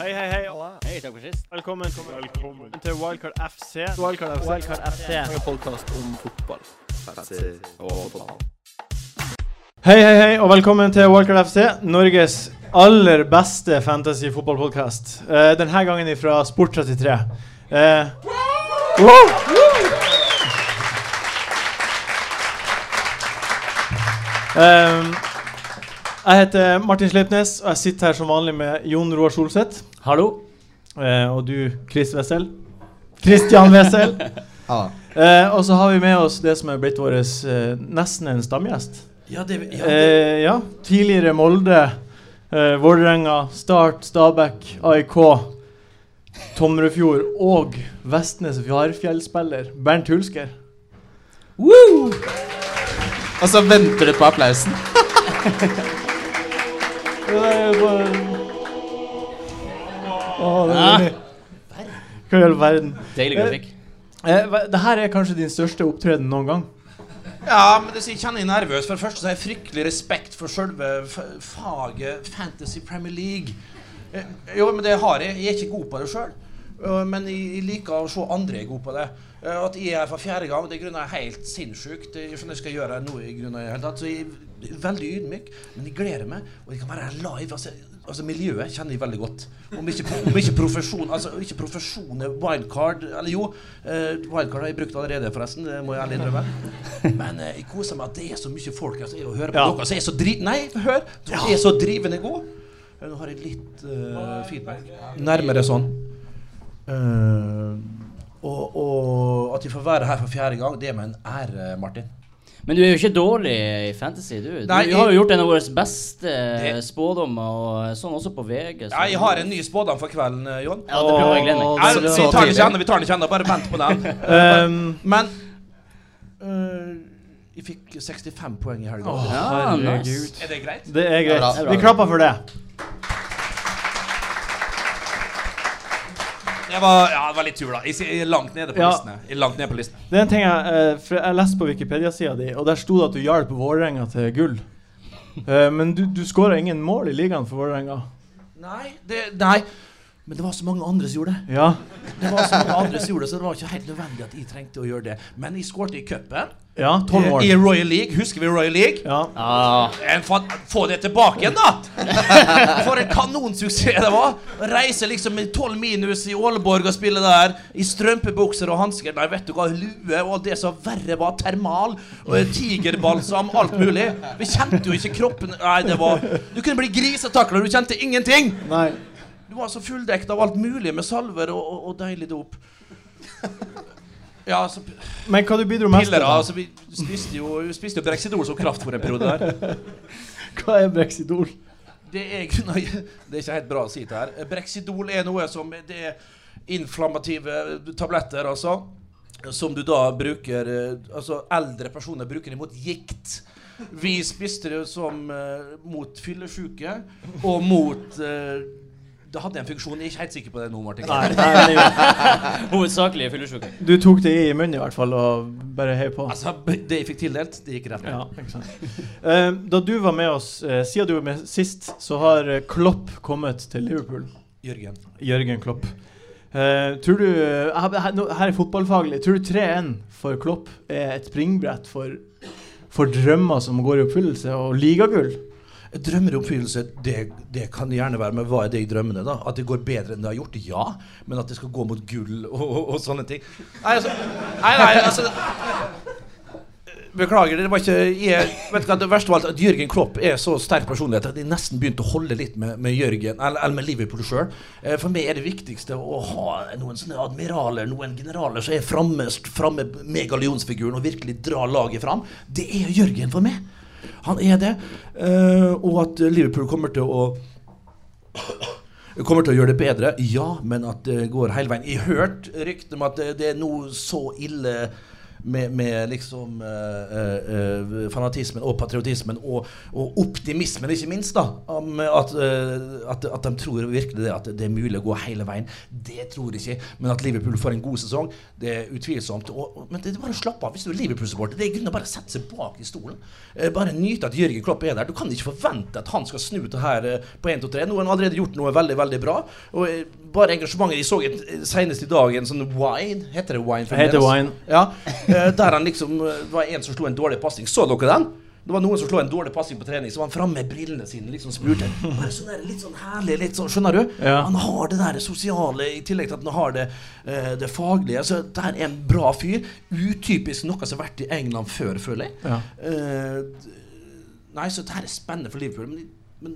Hei, hei, hei. Hei, takk for sist. Velkommen, til Wildcard FC. Wildcard FC. Wildcard FC. En podkast om fotball. Hei, hei, hei, og velkommen til Wildcard FC, Norges aller beste fantasy-fotballpodkast. denne gangen fra Sport33. Eh, Ehm, jeg heter Martin Sleipnes, og jeg sitter her som vanlig med Jon Roar Solseth. Hallo. Eh, og du, Chris Wessel. Christian Wessel. Ja. Eh, og så har vi med oss det som er blitt vår eh, nesten en stamgjest. Ja, det, ja, det. Eh, ja, tidligere Molde, eh, Vålerenga, Start, Stabæk, AIK, Tomrefjord og Vestnes Varfjell-spiller Bernt Hulsker. Woo! Og så venter du på applausen. Det er jo bare... Å, det er nydelig. Hva i all verden? Deilig grafikk. Eh, hva- det her er kanskje din største opptreden noen gang. Ja, men det, jeg kjenner jeg nervøs. For det første så har jeg fryktelig respekt for selve f- faget Fantasy Premier League. Eh, Jo, men det har jeg. Jeg er ikke god på det sjøl. Men jeg jeg liker å se andre er gode på det. Eh, At jeg er her for fjerde gang, det er grunnen er helt sinnssykt. Jeg skjønner jeg skal gjøre noe i grunnen i hele tatt. Så jeg er veldig ydmyk, men jeg gleder meg. Og jeg kan være her live. Altså, altså miljøet kjenner jeg veldig godt. Om ikke, om ikke profesjon Altså om ikke profesjon er wildcard Eller jo, eh, wildcard har jeg brukt allerede, forresten. Det må jeg ærlig innrømme. Men eh, jeg koser meg at det er så mye folk her som er og hører på Ja. dere som er så dri... Nei, hør! Dere er så drivende gode. Eh, Nå har jeg litt eh, feedback. Nærmere sånn. Eh, og, og at jeg får være her for fjerde gang, det er meg en ære, Martin. Men du er jo ikke dårlig i fantasy, du. Du, Nei, du har jeg- jo gjort en av våre beste eh, Det- spådommer, og sånn også på VG. så- Ja, jeg har en ny spådom for kvelden, eh, Jon. Ja, det blir jeg gleder meg. Nei, så- vi så tar den tidlig. ikke ennå, vi tar den ikke ennå. Bare vent på den. Um, Men eh, jeg fikk 65 poeng i helga. Ja, Ah, nice. Er det greit? Det er Det er bra. greit. Det er bra. Vi klapper for det. Det var, ja, det var litt tur, da. Jeg sier- Jeg er langt nede på Ja. listene. Jeg er langt nede på listene. Det er en ting jeg, eh, for jeg leste på Wikipedia-sida di, og der sto det at du hjalp Vålerenga til gull. Eh, men du, du skåra ingen mål i ligaen for Vålerenga. Nei, det, nei. Men det var så mange andre som gjorde det. Ja. Det var så mange andre som gjorde det, Så det var ikke helt nødvendig at jeg trengte å gjøre det. Men jeg skårte i cupen. Ja, tolv I mål. Royal League. Husker vi Royal League? Ja. Ah, En fan, Eh, få det tilbake igjen, da! For en kanonsuksess det var! Reise liksom med 12 minus i Ålborg og spille der i strømpebukser og hansker. Nei, vet du hva, lue og alt det som verre var, termal og tigerbalsam, alt mulig. Vi kjente jo ikke kroppen Nei, det var Du kunne bli grisetakler, du kjente ingenting! Nei. Du var så fulldekt av alt mulig med salver og, og, og deilig dop. Ja, så p- Men hva du bidro mest til? piller da? altså, Vi spiste jo, vi spiste jo Brexidol som kraftfôr en periode der. Hva er Brexidol? Det er, nei, det er ikke helt bra å si det her. Brexidol er noe som Det er inflammative tabletter, altså. Som du da bruker eh, Altså eldre personer bruker det mot gikt. Vi spiste det som eh, mot fyllesyke og mot eh, Det hadde en funksjon. Jeg er ikke helt sikker på det nå, Martin. Nei, nei, nei, hovedsakelig fyllesyke. du tok det i munnen i hvert fall, og bare heiv på. Altså, b- det jeg fikk tildelt, det gikk rett ned. Ja, ikke sant. Eh, da du var med oss, eh, siden du var med sist, så har eh, Klopp kommet til Liverpool. Jørgen. Jørgen Klopp. Eh, tror du eh, her, her- nå- her er fotballfaglig. Tror du 3-1 for Klopp er et springbrett for, for drømmer som går i oppfyllelse, og ligagull? Drømmer i oppfyllelse, det, det kan det gjerne være. Men hva er det i drømmene, da? At det går bedre enn det har gjort? Ja. Men at det skal gå mot gull og, og, og sånne ting. Nei, altså, nei, nei, altså Beklager, det var ikke jeg, vet du hva, Det verste var alt at Jørgen Klopp er så sterk personlighet at jeg nesten begynte å holde litt med, med Jørgen, eller, eller med Liverpool sjøl. For meg er det viktigste å ha noen sånne admiraler, noen generaler som er framme, framme megalionsfiguren og virkelig drar laget fram. Det er Jørgen for meg. Han er det. Eh, og at Liverpool kommer til å Kommer til å gjøre det bedre, ja, men at det går hele veien. Jeg hørte rykter om at det, det er noe så ille med, med liksom eh, eh, eh, fanatismen og patriotismen og, og optimismen, ikke minst, da. Om at, eh, at, at de tror virkelig det at det er mulig å gå hele veien. Det tror jeg ikke. Men at Liverpool får en god sesong, det er utvilsomt. Og, og- men det er bare å slappe av hvis du er Liverpool-supporter. Det er i grunnen å bare sette seg bak i stolen. Eh, bare nyte at Jørgen Klopp er der. Du kan ikke forvente at han skal snu det her eh, på 1-2-3. Nå har han allerede gjort noe veldig, veldig bra. Og eh, bare engasjementet Jeg så et, senest i dag en sånn wine. Heter det wine? Det heter fremdeles? wine. Ja, eh, der han liksom eh, var en som slo en dårlig passing. Så dere den? Det var noen som slo en dårlig passing på trening, så var han framme med brillene sine liksom spurte. Bare sånn der, litt sånn herlig, litt sånn, skjønner du? Ja. Han har det der sosiale, i tillegg til at han har det, eh, det faglige. Så det her er en bra fyr. Utypisk noe som har vært i England før, føler jeg. Ja. Eh, d- nei, så det her er spennende for Liverpool, men, men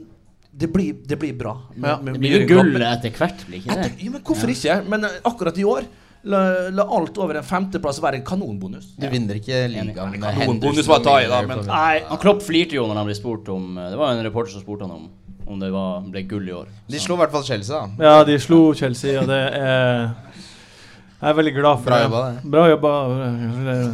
det, blir, det blir bra. med- Ja, med- Det med blir jo Jürgen Klopp. gull etter hvert, blir ikke det? Etter, ja, men hvorfor ikke? Men eh, akkurat i år la, la alt over en femteplass være en kanonbonus. Du vinner ikke ligaen. Enig. med Noen Henderson bonus var å ta i, da, og men- Liverpool. Nei, han Klopp flirte jo når han ble spurt om eh, Det var en reporter som spurte han om om det var, ble gull i år. De slo i hvert fall Chelsea, da. Ja, de slo Chelsea, og det er Jeg er veldig glad for Bra det. jobba, det. Bra jobba.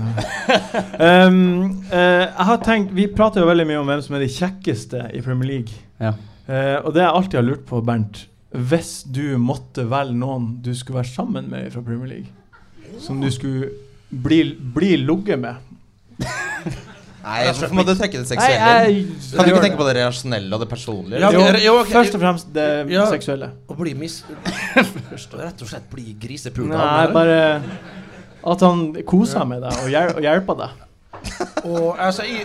um, eh, jeg har tenkt Vi prater jo veldig mye om hvem som er de kjekkeste i Premier League. Ja. Eh, og det jeg alltid har lurt på, Bernt Hvis du måtte velge noen du skulle være sammen med fra Premier League, som du skulle bli, bli ligget med Nei, hvorfor må du tenke Nei, det seksuelle? jeg- Kan du gjør ikke det. tenke på det relasjonelle og det personlige? Ja, liksom? jo, men- jo, ok. Først og fremst det Ja. seksuelle. Å bli mis... Først, rett og slett bli grisepult Nei, av. bare at han koser med deg og, hjel og hjelper deg. Og altså i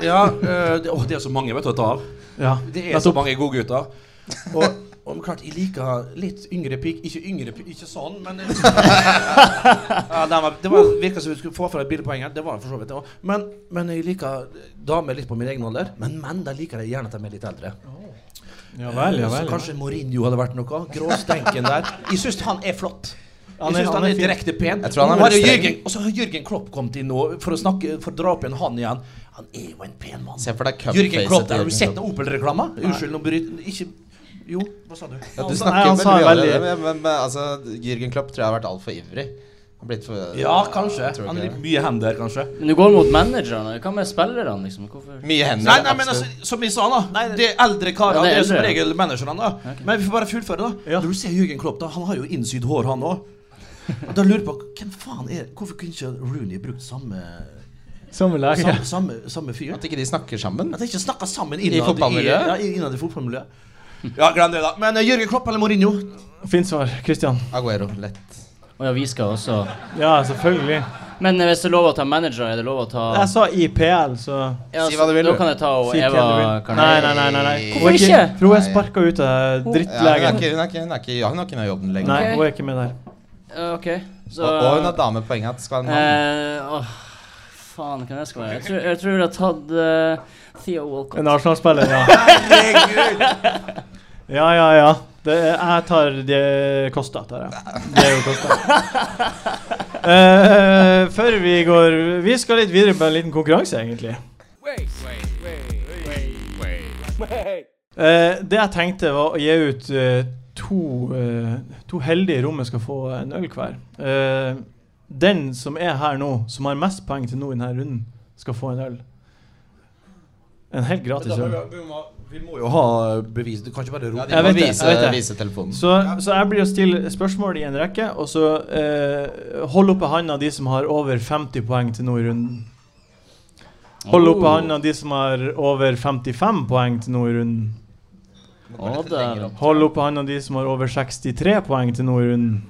Ja, eh, det, å, det er så mange, vet du, å ta av. Ja, Det er så mange gode gutter. Og, og men klart, jeg liker litt yngre pik Ikke yngre pik, ikke sånn, men ja, den var, Det var, virka som vi skulle få fra et bildepoeng her. Det var det for så vidt det også. Men, men jeg liker damer litt på min egen alder. Men menn der liker jeg gjerne at de er litt eldre. Ja vel, ja Så vel. kanskje Mourinho hadde vært noe. Gråstenken der. Jeg syns han er flott. Han Jeg er- syns han han er er fin. direkte pen. Jeg tror han er Og har jo veldig streng. Jørgen, og så har Jørgen Klopp kommet inn nå for å snakke, for å dra opp igjen han igjen. Han er jo en pen mann. Se for deg Jørgen Klopp, cupfacet der, har du sett noen Opel-reklama? Unnskyld, nå bryter Ikke Jo, hva sa du? Ja, du Nei, snakker han veldig sa mye om veldig- det, men, men, men altså, Jürgen Klopp tror jeg har vært altfor ivrig. Han har blitt for Ja, kanskje. Tror ikke Han det. er litt mye hender, kanskje. Men du går mot managerne. Hva med spillerne, liksom? Hvorfor? Mye hender. Nei, nei, men altså, absolutt. som vi sa, da. det er eldre karer. Ja, det, det er er som eldre, ja. regel managerne. da Men vi får bare fullføre, da. Ja. Når du ser Jürgen Klopp, da, han har jo innsydd hår, han òg. Og da lurer jeg på hvem faen er Hvorfor kunne ikke Rooney brukt samme Samme lege. Samme, samme, samme fyr? At ikke de snakker sammen. At de ikke snakker sammen I innad fotballmiljøet? ja, innad i fotballmiljøet. Ja, glem det, da. Men eh, Jürgen Klopp eller Mourinho? Fint svar, Christian. Aguero, lett. Å ja, vi skal også Ja, selvfølgelig. Men eh, hvis det er lov å ta manager, er det lov å ta Jeg sa IPL, så ja, Si hva du vil, Da du. kan jeg ta og si hvem Eva du vil. Nei, Carnegie. nei, nei. nei, nei. Hun Hvorfor er ikke? For hun er Nei. sparka ut av Ja, hun, er drittlegen. ikke, hun, er ikke, hun, er ikke, ja, hun har ikke noe jobb lenger. Nei, Ok. hun er ikke med der. Ja, OK, så Og, og hun har dame på engelsk. Skal en mann. eh, åh, Faen, hva jeg skal være? Jeg tror jeg, tror jeg har tatt eh, Theo Walcott. En Arsenal-spiller, ja. Ja, ja, ja. Det er, jeg tar de Kosta, tar jeg. Det er jo Kosta. Eh, før vi går Vi skal litt videre på en liten konkurranse, egentlig. Eh, det jeg tenkte var å gi ut eh, to, eh, to heldige i rommet skal få en øl hver. Eh, den som er her nå, som har mest poeng til nå i denne runden, skal få en øl. En helt gratis øl. Vi må jo ha bevis. Det kan ikke bare Ja, rope. de Jeg må vet det, jeg vise, vet det. vise telefonen. Så, så jeg blir å stille spørsmål i en rekke, og så eh, hold oppe handa de som har over 50 poeng til nå i runden. Hold Oh. oppe handa de som har over 55 poeng til nå i runden. Må gå litt Å, lenger dæven. opp. Hold oppe handa de som har over 63 poeng til nå i runden.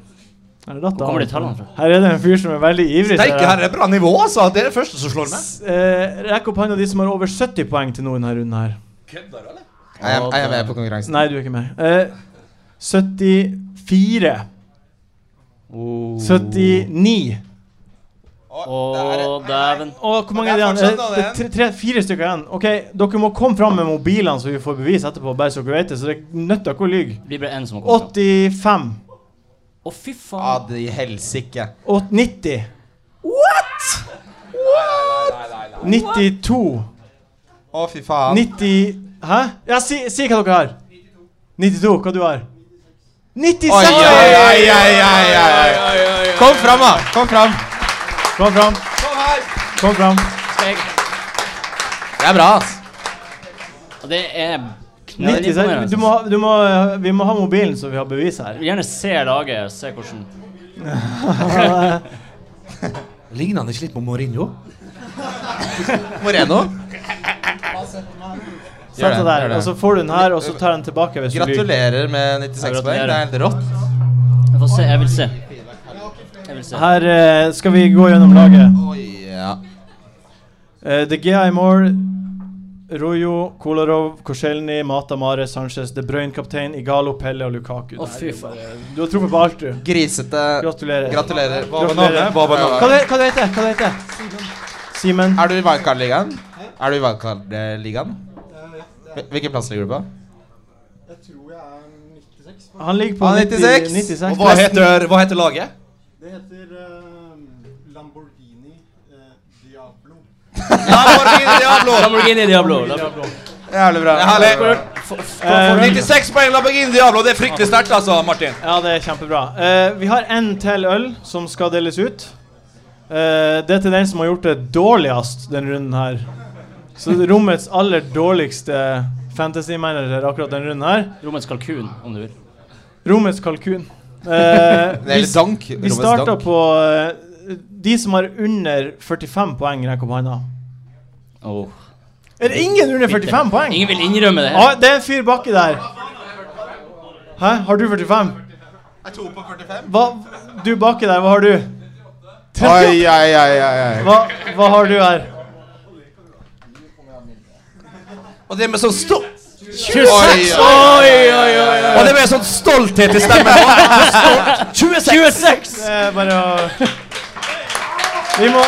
Er det datt Hvor kommer av? de tallene fra? Her er det en fyr som er veldig ivrig. Steike, ser her jeg. er det bra nivå, altså! Det er det første som slår meg. S- Eh, rekk opp handa de som har over 70 poeng til nå i denne runden her. Kødder, eller? Er jeg, er jeg med på konkurransen? Nei, du er ikke med. Eh, 74. Oh. 79. Å, dæven. Og hvor mange er Det er det igjen? fortsatt Eh, noen det er igjen. tre, tre, fire stykker igjen. Ok, Dere må komme fram med mobilene, så vi får bevis etterpå. Bare så dere vet det, så det er nødt til ikke å lyve. Det blir bare én som har kommet. 85. fram. Å, fy Ja, faen. de helsike. åt- 90. What?! 92. Å, fy faen. 90 Hæ? Ja, si, si hva dere har. 92. Hva du har? Oi, oi, 96! oi, oi, oi, oi. Kom fram, da! Kom fram. Kom fram. Kom her! Kom fram. Steg. Det er bra, ass. Og det er altså. 90 cent. Du må, ha- du må, eh, vi må ha mobilen, så vi har bevis her. Gjerne se laget, se hvordan Ligner han ikke litt på Mourinho? Moreno. Sett det gjør der, det. og så får du den her, og så tar den tilbake hvis du lyver. Gratulerer med 96 poeng. Det er helt rått. Jeg får se, jeg vil se. Jeg vil se. Her eh, skal vi gå gjennom laget. Oi, ja. Eh, De Gea i mål. Rojo, Kolarov, Korselny, Mata Mare, Sanchez, De Bruyne kaptein, Igalo, Pelle og Lukaku. Å, fy Der. faen. Du har truffet på alt, du. Grisete. Gratulerer. Gratulerer. Gratulerer. Hva Gratulerer. det- hva det heter du? Hva det heter Simen. Er du i Wildcard-ligaen? Er du i Wildcard-ligaen? Hvil- Hvilken plass ligger du på? Jeg tror jeg er 96. men Han ligger på Eh, Ah, 96. 96. 96. Og hva heter, hva heter laget? Det heter eh, Lamborghini eh, Diablo. Lamborghini Diablo! Lamborghini Diablo. Lamborghini. Jævlig bra. Det er herlig. Eh, 96 poeng Lamborghini Diablo, det er fryktelig sterkt, altså, Martin. Ja, det er kjempebra. Eh, vi har en til øl som skal deles ut. Eh, det er til den som har gjort det dårligst denne runden her. Så rommets aller dårligste fantasy-manager akkurat denne runden her. Rommets kalkun, om du vil. Rommets kalkun. Eh, Det er vi, litt dank. vi Rommets starter dank. på eh, de som har under 45 poeng, rekk opp handa. Åh. Er det ingen under 45 poeng? Ingen vil innrømme det. her. Ah, det er en fyr baki der. Hæ? Har du 45? Er to på 45? Hva, du baki der, hva har du? Oi, oi, oi, oi, oi. Hva, hva har du her? Og det med sånn stol... Oi, Oi, oi, oi. Og det med sånn stolthet i stemmen. 26! Det er bare å Vi må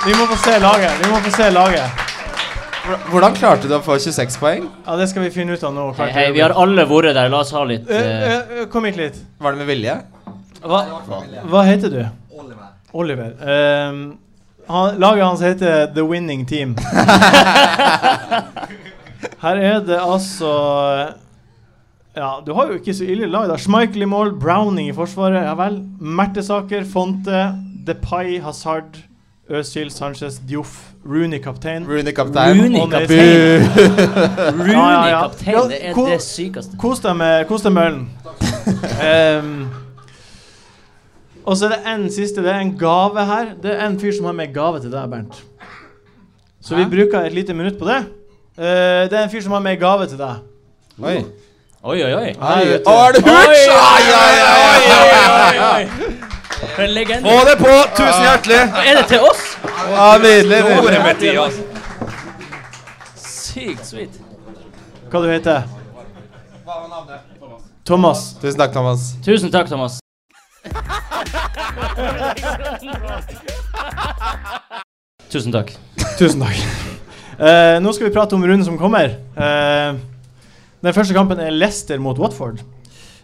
vi må få se laget. Vi må få se laget. Hvordan klarte du å få 26 poeng? Ja, Det skal vi finne ut av nå. Hei, hei, vi har alle vært der. La oss ha litt Eh, eh, eh, eh, Kom hit litt. Var det med vilje? Hva, hva heter du? Oliver. Ehm, han, laget hans heter The Winning Team. Her er det altså Ja, du har jo ikke så ille lag. da Schmeichel i mål, Browning i forsvaret. Ja vel. Mertesaker, Fonte, Depay, Hazard, Özil, Sanchez, Dioff, Rooney kaptein. Rooney kaptein. Rooney Og kaptein. Neves. Ja, ja, Rooney ja. Ja, kaptein. Det er hvor- det sykeste. Kos deg med, kos deg med ølen. Ehm, og så er det en siste. Det er en gave her. Det er en fyr som har med gave til deg, Bernt. Så vi Hæ? bruker et lite minutt på det. Eh, det er en fyr som har med gave til deg. Oi. Oi, oi, oi. Her, vet du. Å, er det Hurts? Ai, ai, ai, ai, ai. For en legende. Få det på! Tusen hjertelig. Er det til oss? Ja, nydelig. Nå er det nydelig. med tid, altså. Sykt sweet. Hva du heter du? Thomas. Tusen takk, Thomas. Tusen takk, Thomas. Tusen takk. Tusen takk. Eh, nå skal vi prate om runden som kommer. Eh, den første kampen er Leicester mot Watford.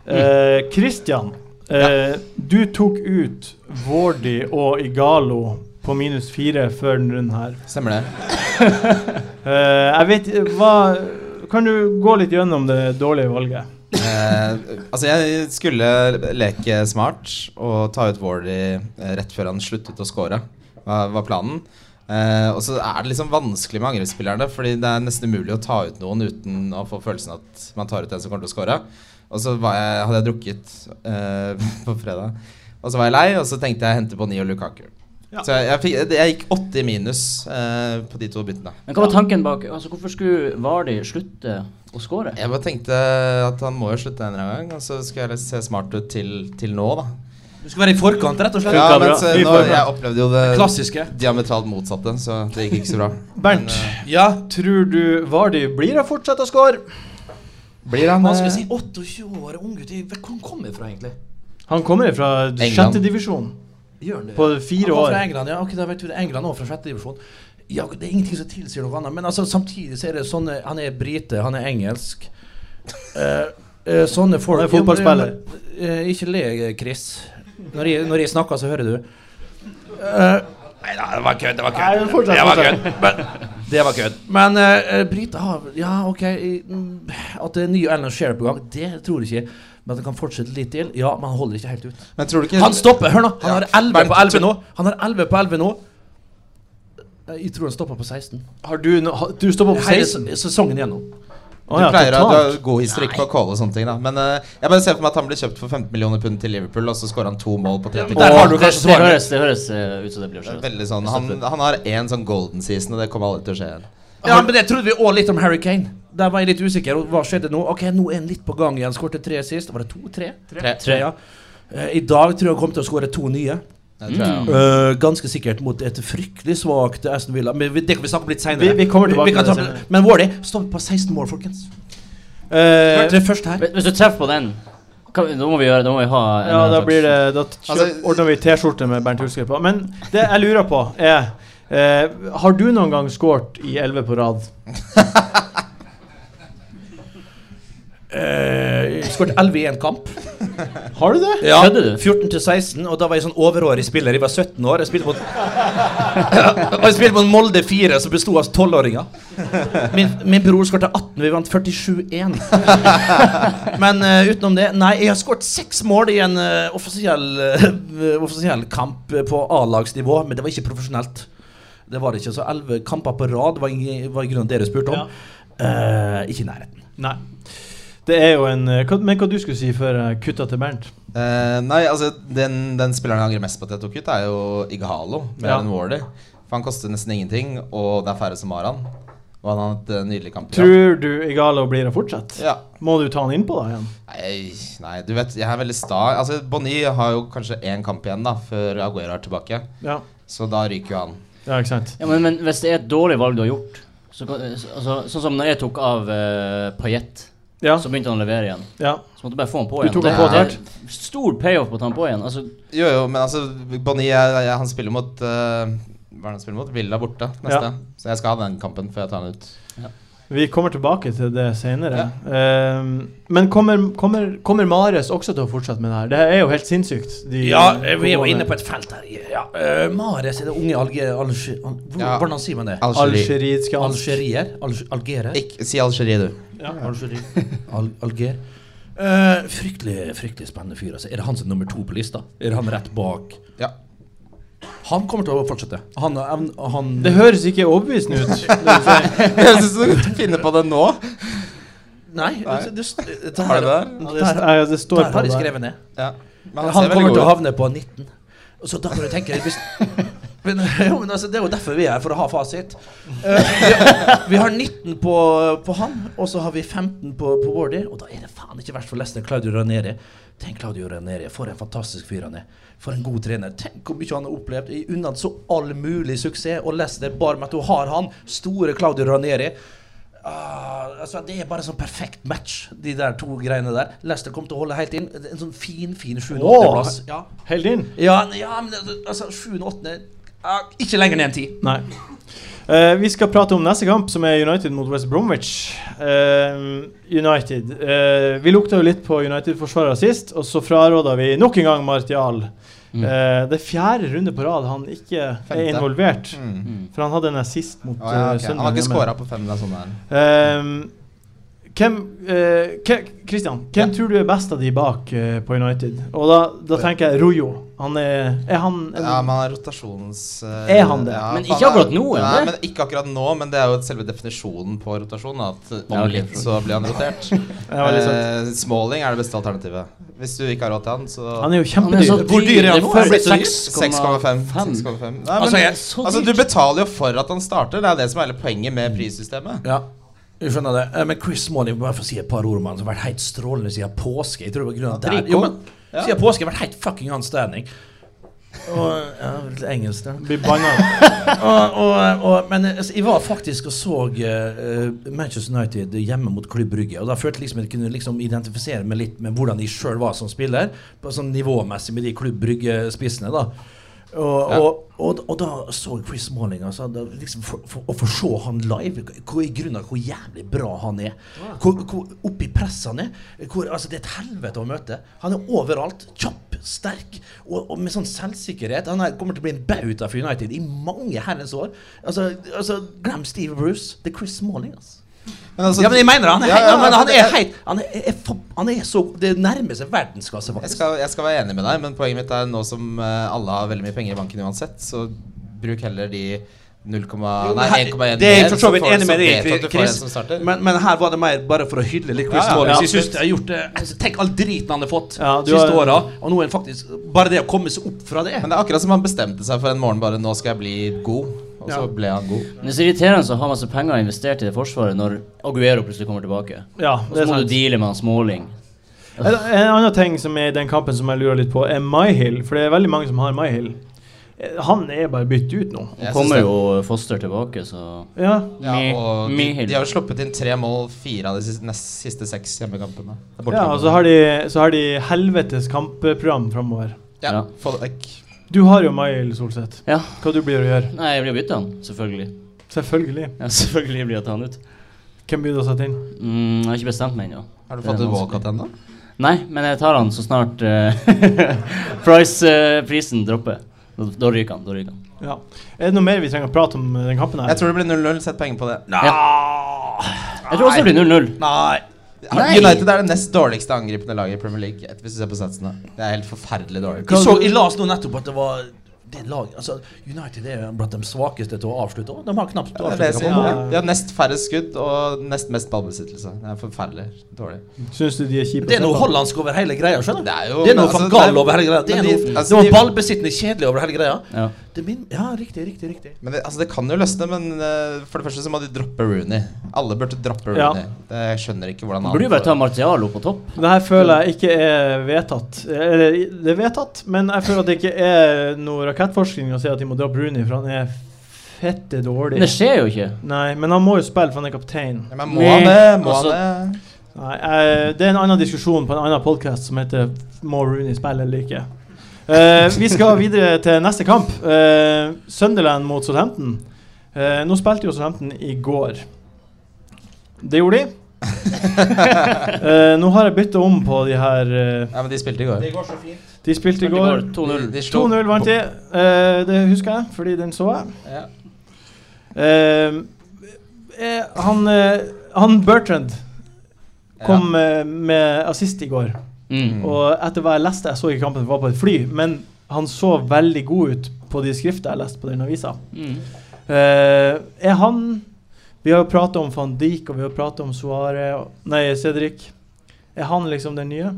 Mm. Eh, Christian, eh, du tok ut Vardy og Igalo på minus fire før denne runden her. Stemmer det. Eh, jeg vet hva Kan du gå litt gjennom det dårlige valget? Eh, altså, jeg skulle leke smart og ta ut Wardy eh, rett før han sluttet å score, var, var planen. Eh, og så er det liksom vanskelig med angrepsspillerne, fordi det er nesten umulig å ta ut noen uten å få følelsen at man tar ut den som kommer til å score. Og så var jeg, hadde jeg drukket eh, på fredag, og så var jeg lei, og så tenkte jeg hente Boni og Lukaku. Ja. Så jeg, jeg, fikk, jeg gikk åtte i minus eh, på de to byttene. Men hva var tanken bak Altså, Hvorfor skulle Vardi slutte å score? Jeg bare tenkte at han må jo slutte en eller annen gang, og så skal jeg liksom se smart ut til, til nå, da. Du skal være i forkant, rett og slett. Ja, men bra. så, Vi nå, får bra. jeg opplevde jo det Klassiske. diametralt motsatte, så det gikk ikke så bra. Bernt, Ja. eh, tror du Vardy blir å fortsette å score? Blir han Hva skal vi eh, si? 28 år, unggutt. Hvor han kommer fra, egentlig? Han kommer fra England. sjettedivisjon Gjør han det? på fire Han var fra år. England, ja. Ok, da vet du det. England også fra sjette divisjon. Ja, det er ingenting som tilsier noe annet. Men altså, samtidig så er det sånne Han er brite, han er engelsk. Eh, eh, sånne folk Han er fotballspiller. Eh, ikke le, Chris. Når jeg, når jeg snakker, så hører du. Eh, nei da, det var kødd. Det var Nei, men fortsett, Det var fortsett. kødd. Men Det var kødd. Men uh, Brita har Ja, OK. i- mm, At det er nye Alan Shearer på gang, det tror jeg ikke. Men at han kan fortsette litt til? Ja, men han holder ikke helt ut. Men tror du ikke Han stopper! Hør nå! Han har Ja. 11 Men- på 11 nå. Han har 11 på 11 nå. Eh, Jeg tror han stopper på 16. Har du, no, har- du står på Hele 16? se- sesongen igjennom. Du pleier å ha god historikk på å calle og sånne ting, da. Men eh, jeg bare ser for meg at han blir kjøpt for 15 millioner pund til Liverpool, og så scorer han to mål på der 30 kamper. har du det, kanskje det, svaret. høres, det høres eh, ut som det blir Det er skjedd. Veldig sånn Han, han har én sånn golden season, og det kommer aldri til å skje igjen. Ja, men det trodde vi òg litt om Harry Kane. Der var jeg litt usikker. Og hva skjedde nå? Ok, nå er han litt på gang igjen. Skårte tre sist. Var det to? Tre? Tre. Tre, ja. Eh, I dag tror jeg han kommer til å skåre to nye. Det tror jeg. Eh, ganske sikkert mot et fryktelig svakt Aston Villa. Men vi- det kan vi snakke om litt seinere. Vi- vi kommer tilbake kan til ta- det senere. Men Wardy står på 16 mål, folkens. Hørte Eh, dere først her? Hvis- Hvis du treffer på den, kan, vi- da må vi gjøre Da må vi ha en ja, annen da slags- blir det Da t- kjøp, Altså, ordner vi T-skjorte med Bernt Hulsker på. Men det jeg lurer på, er eh, Har du noen gang scoret i 11 på rad? Uh, Skåret 11 i én kamp. Har du det? Ja, Kødder du? 14 til 16, og da var jeg sånn overårig spiller. Jeg var 17 år. Jeg spilte mot, og jeg spilte mot Molde 4, som besto av 12-åringer. Min, min bror skåret 18, vi vant 47-1. Men eh, utenom det Nei, jeg har skåret seks mål i en eh, offisiell, eh, offisiell kamp på A-lagsnivå, men det var ikke profesjonelt. Det var det ikke, Så elleve kamper på rad var i, var i grunnen dere spurte om. Eh, ikke i nærheten. Nei. Det er jo en eh, hva- Men hva du skulle si før jeg kutta til Bernt? Eh, nei, altså den, den spilleren jeg angrer mest på at jeg tok ut, er jo Igalo mer Ja. enn Wardy. For han koster nesten ingenting, og det er færre som har han. Og han har hatt eh, nydelig kamp. i dag. Tror du Igalo blir å fortsette? Ja. Må du ta han innpå da igjen? Nei, nei, du vet, jeg er veldig sta. Altså, Bonny har jo kanskje én kamp igjen da før Aguero er tilbake. Ja, Så da ryker jo han. ja ikke sant? Ja, men, men hvis det er et dårlig valg du har gjort så, kan- altså, Sånn som når jeg tok av uh, Paillette, Ja, så begynte han å levere igjen. ja. Så måtte jeg bare få han på Du igjen. tok Det- han på det er Stor payoff på å ta han på igjen. Altså, Jo, jo, men altså, Bonny er- er- han spiller mot eh, Hva er det han spiller mot? Villa borte neste. Ja. Så jeg skal ha den kampen før jeg tar han ut. Vi kommer tilbake til det senere. Ehm, men kommer, kommer, kommer Mares også til å fortsette med det her? Det her er jo helt sinnssykt. de- Ja, eh, vi er jo inne på et felt her. Ja. eh, Mares er det unge alge... Alge... Al hvor- Ja. Hvordan sier man det? Algerie. Algerisk Algerier? Alge- Algerer? Ikke, si Algerie, du. Ja. Algerie. Al Alger. Eh, fryktelig fryktelig spennende fyr. Altså. Er det han som er nummer to på lista? Er det han rett bak Ja. Han kommer til å fortsette. Han, han, han Det høres ikke overbevisende ut. altså, Jeg syns du finner på det nå. Nei, altså, det, det, det, det, Har du det der? Ja, det, st- ja, det står Der på har jeg det. skrevet ned. Ja. Men Han, ser veldig kommer god til å ut. havne på 19. Og Så da kan du tenke deg hvis, men, jo, men altså, Det er jo derfor vi er her, for å ha fasit. Eh, vi, vi har 19 på, på han, og så har vi 15 på, på Wardy. Og da er det faen ikke verst for Leicester. Claudio Raneri. Tenk Claudio Raneri. For en fantastisk fyr han er. For en god trener. Tenk hvor mye han har opplevd. Jeg unner han så all mulig suksess. Og Leicester bare med at hun har han. Store Claudio Raneri. Ah, altså Det er bare sånn perfekt match, de der to greiene der. Leicester kommer til å holde helt inn. En sånn fin, fin 7.-8.-plass. Ja. Helt inn? Ja, n- ja, men altså, 7. og 8. ikke lenger ned enn 10. Nei. Eh, vi skal prate om neste kamp, som er United mot West Bromwich. Eh, United. Eh, vi lukta jo litt på United-forsvarere sist, og så fraråda vi nok en gang Martial. Eh, det er fjerde runde på rad han ikke Mm. Femte. er involvert. Mm. For han hadde en assist mot Å, ja, eh, ok. Han Sunderland har ikke hjemme. scora på fem. Det er sånn det er. Ehm, hvem eh, ke- Christian, hvem tror du er best av de bak eh, på United? Og da, da tenker jeg Rojo. Han er, er han en, Ja, men han er rotasjons... eh, Er han det? ja, Men for ikke han er- akkurat nå, er Nei, det? men ikke akkurat nå, men det er jo selve definisjonen på rotasjon. da, At om Ja, ok. litt så blir han rotert. Ja, veldig sant. Eh, Smalling er det beste alternativet. Hvis du ikke har råd til han, så Han er jo han er så kjempedyr. Hvor dyr er han nå? Er det Det blitt så dyr? 6,5. 6,5. 6,5. Nei, men- Altså, jeg- så altså, du dyrt. betaler jo for at han starter. Det er det som er hele poenget med prissystemet. Ja, jeg skjønner det. Eh, Men Chris Smalling, bare for å si et par ord om han, som har vært helt strålende siden påske. Jeg tror det var grunnen til Rico. det. Jo, men, Ja. Siden påske har vært helt fucking outstanding. Og ja, litt engelsk der. Blir banna. og, og, og, men altså, jeg var faktisk og så eh, Manchester United hjemme mot Klubb Brygge. Og da følte jeg liksom at jeg kunne liksom identifisere meg litt med hvordan jeg sjøl var som spiller. På sånn nivåmessig med de Klubb Brygge-spissene. da Og, Ja. og, og, og da så jeg Chris Malling. Altså, da, liksom for, for, å få se han live, hvor, i grunnen, hvor jævlig bra han er. Hvor, hvor oppi presset han er. Hvor, altså, det er et helvete å møte. Han er overalt. Kjapp, sterk og, og med sånn selvsikkerhet. Han er, kommer til å bli en bauta for United i mange herrens år. Altså, altså glem Steve Bruce. Det er Chris Malling, altså. Men altså, Ja, men jeg mener han er, Ja, hei- ja, ja, men han det- er heit. Han er, er, for- han er så Det nærmer seg verdensklasse, Jeg faktisk. skal, jeg skal være enig med deg, men poenget mitt er nå som eh, alle har veldig mye penger i banken uansett, så bruk heller de 0,1 Nei, 1,1 mer. Det er jeg for så vidt får du- enig med vet du at deg du får en Chris. som starter. Men, men her var det mer bare for å hylle litt Chris Ja, ja. Wallace. Ja, Jeg synes absolutt. jeg har gjort det eh, altså, Tenk all driten han har fått Ja, du siste har- åra, og nå er han faktisk Bare det å komme seg opp fra det Men det er akkurat som han bestemte seg for en morgen bare 'Nå skal jeg bli god', og så Ja. ble han god. Men Det er så irriterende å ha masse penger investert i det forsvaret når Aguero plutselig kommer tilbake. Ja, Og det så er må du sant. deale med han Småling. En, en annen ting som er i den kampen som jeg lurer litt på, er Myhill. For det er veldig mange som har Myhill. Eh, Han er bare byttet ut nå. Nå Jeg kommer synes det- jo Foster tilbake, så Ja. Ja, Mi- og de, Mihil. de har jo sluppet inn tre mål, fire av de siste, nest, siste seks hjemmekampene. ja altså og så har de, så har de helvetes kampprogram framover. ja, Ja. få det vekk. Du har jo Myhill, Solseth. Ja. Hva du blir å gjøre? Nei, jeg blir å bytte han, selvfølgelig. Selvfølgelig. Ja, selvfølgelig blir jeg å ta han ut. Hvem blir det å sette inn? Mm, jeg har ikke bestemt meg ennå. Har du Det er fått en vanskelig. walkout ennå? Nei, men jeg tar han så snart eh, price, eh, prisen dropper. Da, da ryker han. da ryker han. Ja. Er det noe mer vi trenger å prate om eh, den kampen her? Jeg tror det blir 0-0. Sett penger på det. Jeg tror også det blir 0-0. Nei. Nei. United er det nest dårligste angripende laget i Premier League. et- Hvis du ser på satsene Det er helt forferdelig dårlig. Jeg, så, jeg las nå nettopp at det var det lag, altså, United er jo blant de svakeste til å avslutte òg. De har knapt Ja, det er det avsluttet jeg sier. Ja. kampen. De har nest færre skudd og nest mest ballbesittelse. Det er forferdelig dårlig. Syns du de er kjipe? Det er noe hollandsk over hele greia. skjønner du? Det er jo- det er noe altså, van det Gaal er- over hele greia. Det er men de- noe, altså, det er de- noe ballbesittende kjedelig over hele greia. Ja. Det min, ja, riktig, riktig, riktig. Men det, altså, det kan jo løsne, men eh, for det første så må de droppe Rooney. Alle burde droppe Ja. Rooney. Det, jeg skjønner ikke hvordan Man han burde jo bare får- ta Martial opp på topp. Det her føler jeg ikke er vedtatt. Eller, det er vedtatt, men jeg føler at det ikke er noe rakettforskning å si at de må dra Bruni, for han er fette dårlig. Men det skjer jo ikke. Nei, men han må jo spille, for han er kaptein. ja, Men må han det? Må Altså- han det? Nei, eh, det er en annen diskusjon på en annen podkast som heter Må Rooney spille eller ikke? Eh, vi skal videre til neste kamp. Eh, Sunderland mot Southampton. Eh, nå spilte jo Southampton i går. Det gjorde de. Eh, nå har jeg bytta om på de her eh, Ja, men de spilte i går. går så fint. De spilte i Det går. går 2-0. De slo- 2-0 vant de. Eh, det husker jeg, fordi den så jeg. Ja. Eh, eh, han, eh, han Bertrand kom eh, med assist i går. Mm. Og etter hva jeg leste Jeg så ikke kampen, jeg var på et fly. Men han så veldig god ut på de skriftene jeg leste på den avisa. Mm. Eh, er han Vi har jo prata om van Dijk, og vi har prata om Suare og- Nei, Cedric. Er han liksom den nye?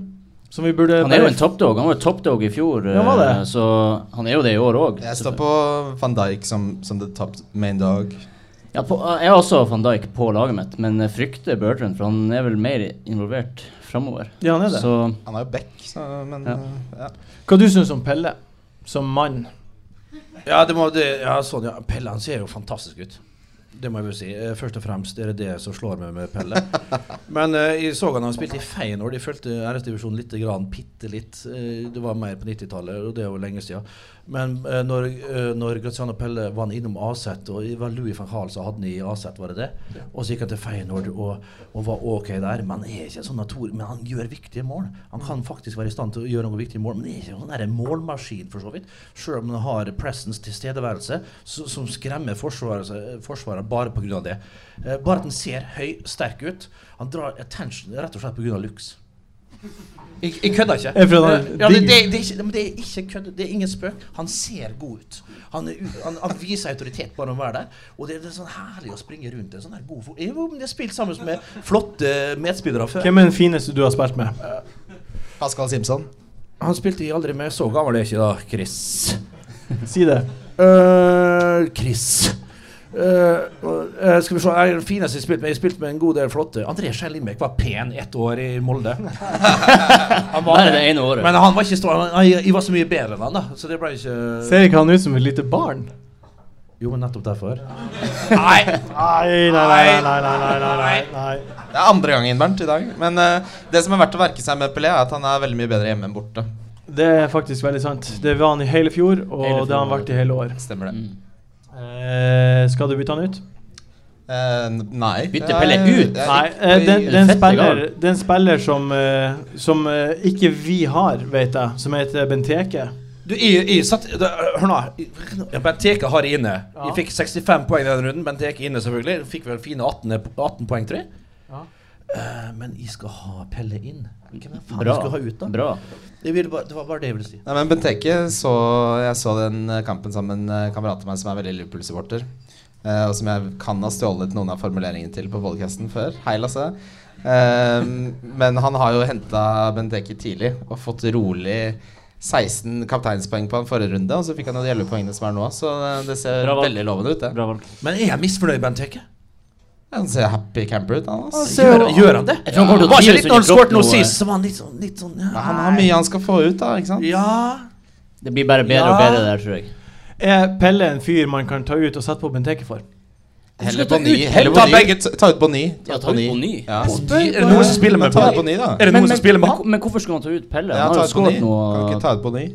Som vi burde Han er jo en toppdog. Han var jo toppdog i fjor, Ja, var det? eh, så han er jo det i år òg. Jeg står på van Dijk som, som the top main dog. Ja, på, eh, jeg har også van Dijk på laget mitt, men jeg frykter Bertrand, for han er vel mer involvert framover. Ja, han er det. Så Han er jo back, så, men Ja. eh, ja. Hva du syns om Pelle som mann? Ja, det må, det, ja, sånn, ja. Pelle han ser jo fantastisk ut. Det må jeg vel si. Eh, Først og fremst det er det det som slår meg med Pelle. Men eh, jeg så han han spilte i Feyenoord. Jeg fulgte RS-divisjonen litt, grann, bitte litt. Eh, det var mer på 90-tallet, og det er jo lenge siden. Men eh, når, eh, når Graziano Pelle var han innom Aset, og det var Louis van Gaal som hadde han i Aset, var det det? Og så gikk han til Feyenoord og, og var ok der. Men han er ikke en sånn natur, men han gjør viktige mål. Han kan faktisk være i stand til å gjøre noen viktige mål, men det er ikke sånn der en målmaskin, for så vidt. Selv om han har presence, tilstedeværelse, så, som skremmer forsvaret, forsvaret bare pga. det. Eh, bare at han ser høy, sterk ut. Han drar attention rett og slett pga. looks. Jeg, jeg kødder ikke. Jeg føler han er Eh, ja, det, digg. det, det, er ikke, men det er ikke kødd. Det er ingen spøk. Han ser god ut. Han, er, u- han, han viser autoritet bare om å være der. Og det, det er sånn herlig å springe rundt en sånn her god fot. Jeg har spilt sammen med flotte medspillere før. Hvem er den fineste du har spilt med? Pascal Simpson. Han spilte i aldri med så gammel er ikke da, Chris. Si det. Eh, Chris. Eh, og, eh, skal vi se, jeg, er den fineste jeg spilte med Jeg spilte med en god del flotte. André Skjellimbekk var pen ett år i Molde. Han var bare det. det ene året. Men han var ikke stor. Han, jeg, jeg var så mye bedre enn han, da. Så det ble ikke Ser ikke han ut som et lite barn? Jo, men nettopp derfor. Nei, nei, nei, nei, nei, nei, nei, nei. Det er andre gangen, Bernt, i dag. Men eh, det som er verdt å merke seg med Pelé, er at han er veldig mye bedre hjemme enn borte. Det Det er faktisk veldig sant. Det var han i hele fjor, og Hele det har han fjor. vært i hele år. Stemmer det. Mm. Eh, skal du bytte han ut? Eh, n- nei. Bytte Pelle ut? Jeg- Nei. Eh, den, jeg- den, Fette spiller, gal. den spiller som, eh, som eh, ikke vi har, vet jeg, som heter Benteke. Du, jeg, jeg satt da, Hør nå. jeg- Benteke har jeg inne. Ja. Jeg fikk 65 poeng denne runden. Benteke inne, selvfølgelig. Fikk vel fine 18, e- 18 poeng, tror jeg. Ja. Eh, men jeg skal ha Pelle inn. Hvem er faen Bra. jeg skal ha ut, da? Bra. Jeg ville bare, det var bare det jeg ville si. Nei, men Benteke så Jeg så den eh, kampen sammen med en kamerat av meg som er veldig Liverpool-supporter. eh, og som jeg kan ha stjålet noen av formuleringene til på podcasten før. Hei, Lasse. Eh, men han har jo henta Benteke tidlig og fått rolig 16 kapteinspoeng på en forrige runde. Og så fikk han jo de 11 poengene som er nå, så eh, det ser Bra valg. veldig lovende ut. Det. Bra valg. Men er jeg misfornøyd, Benteke? Han ser happy camper ut, han. Altså. Gjør, gjør han det? Jeg tror han kommer til å Var ikke trives litt når han under kroppen skåret nå nå, sist, så var han litt sånn, litt sånn ja. Han har mye han skal få ut, da. ikke sant? Ja Det blir bare bedre og Ja. bedre der, tror jeg. Er Pelle en fyr man kan ta ut og sette på Benteke for? Heller Skal ta Bonny. ut- Heller ta Bonny. begge- Ta- Ta ut Bonny. Ja, ta ut Bonny. Ja. Er det noen som spiller med Men ta ut Pelle? Bonny, da. Er det noen som spiller med han? Men hvorfor skulle han ta ut Pelle? Ja, Han ta har ut jo Bonny. skåret noe Kan ikke ta ut Bonny?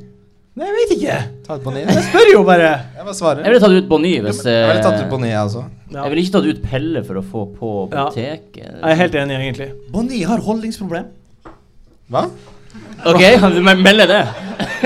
Nei, jeg vet ikke! Ta ut Bonny. Jeg spør jo bare! Jeg bare svarer. Jeg ville tatt ut Bonny hvis det Jeg ville tatt ut Bonny, jeg også. Ja. Jeg ville ikke tatt ut Pelle for å få på Ja. apoteket. Jeg er helt enig, egentlig. Bonny har holdningsproblem. Hva? OK, han me- melder det.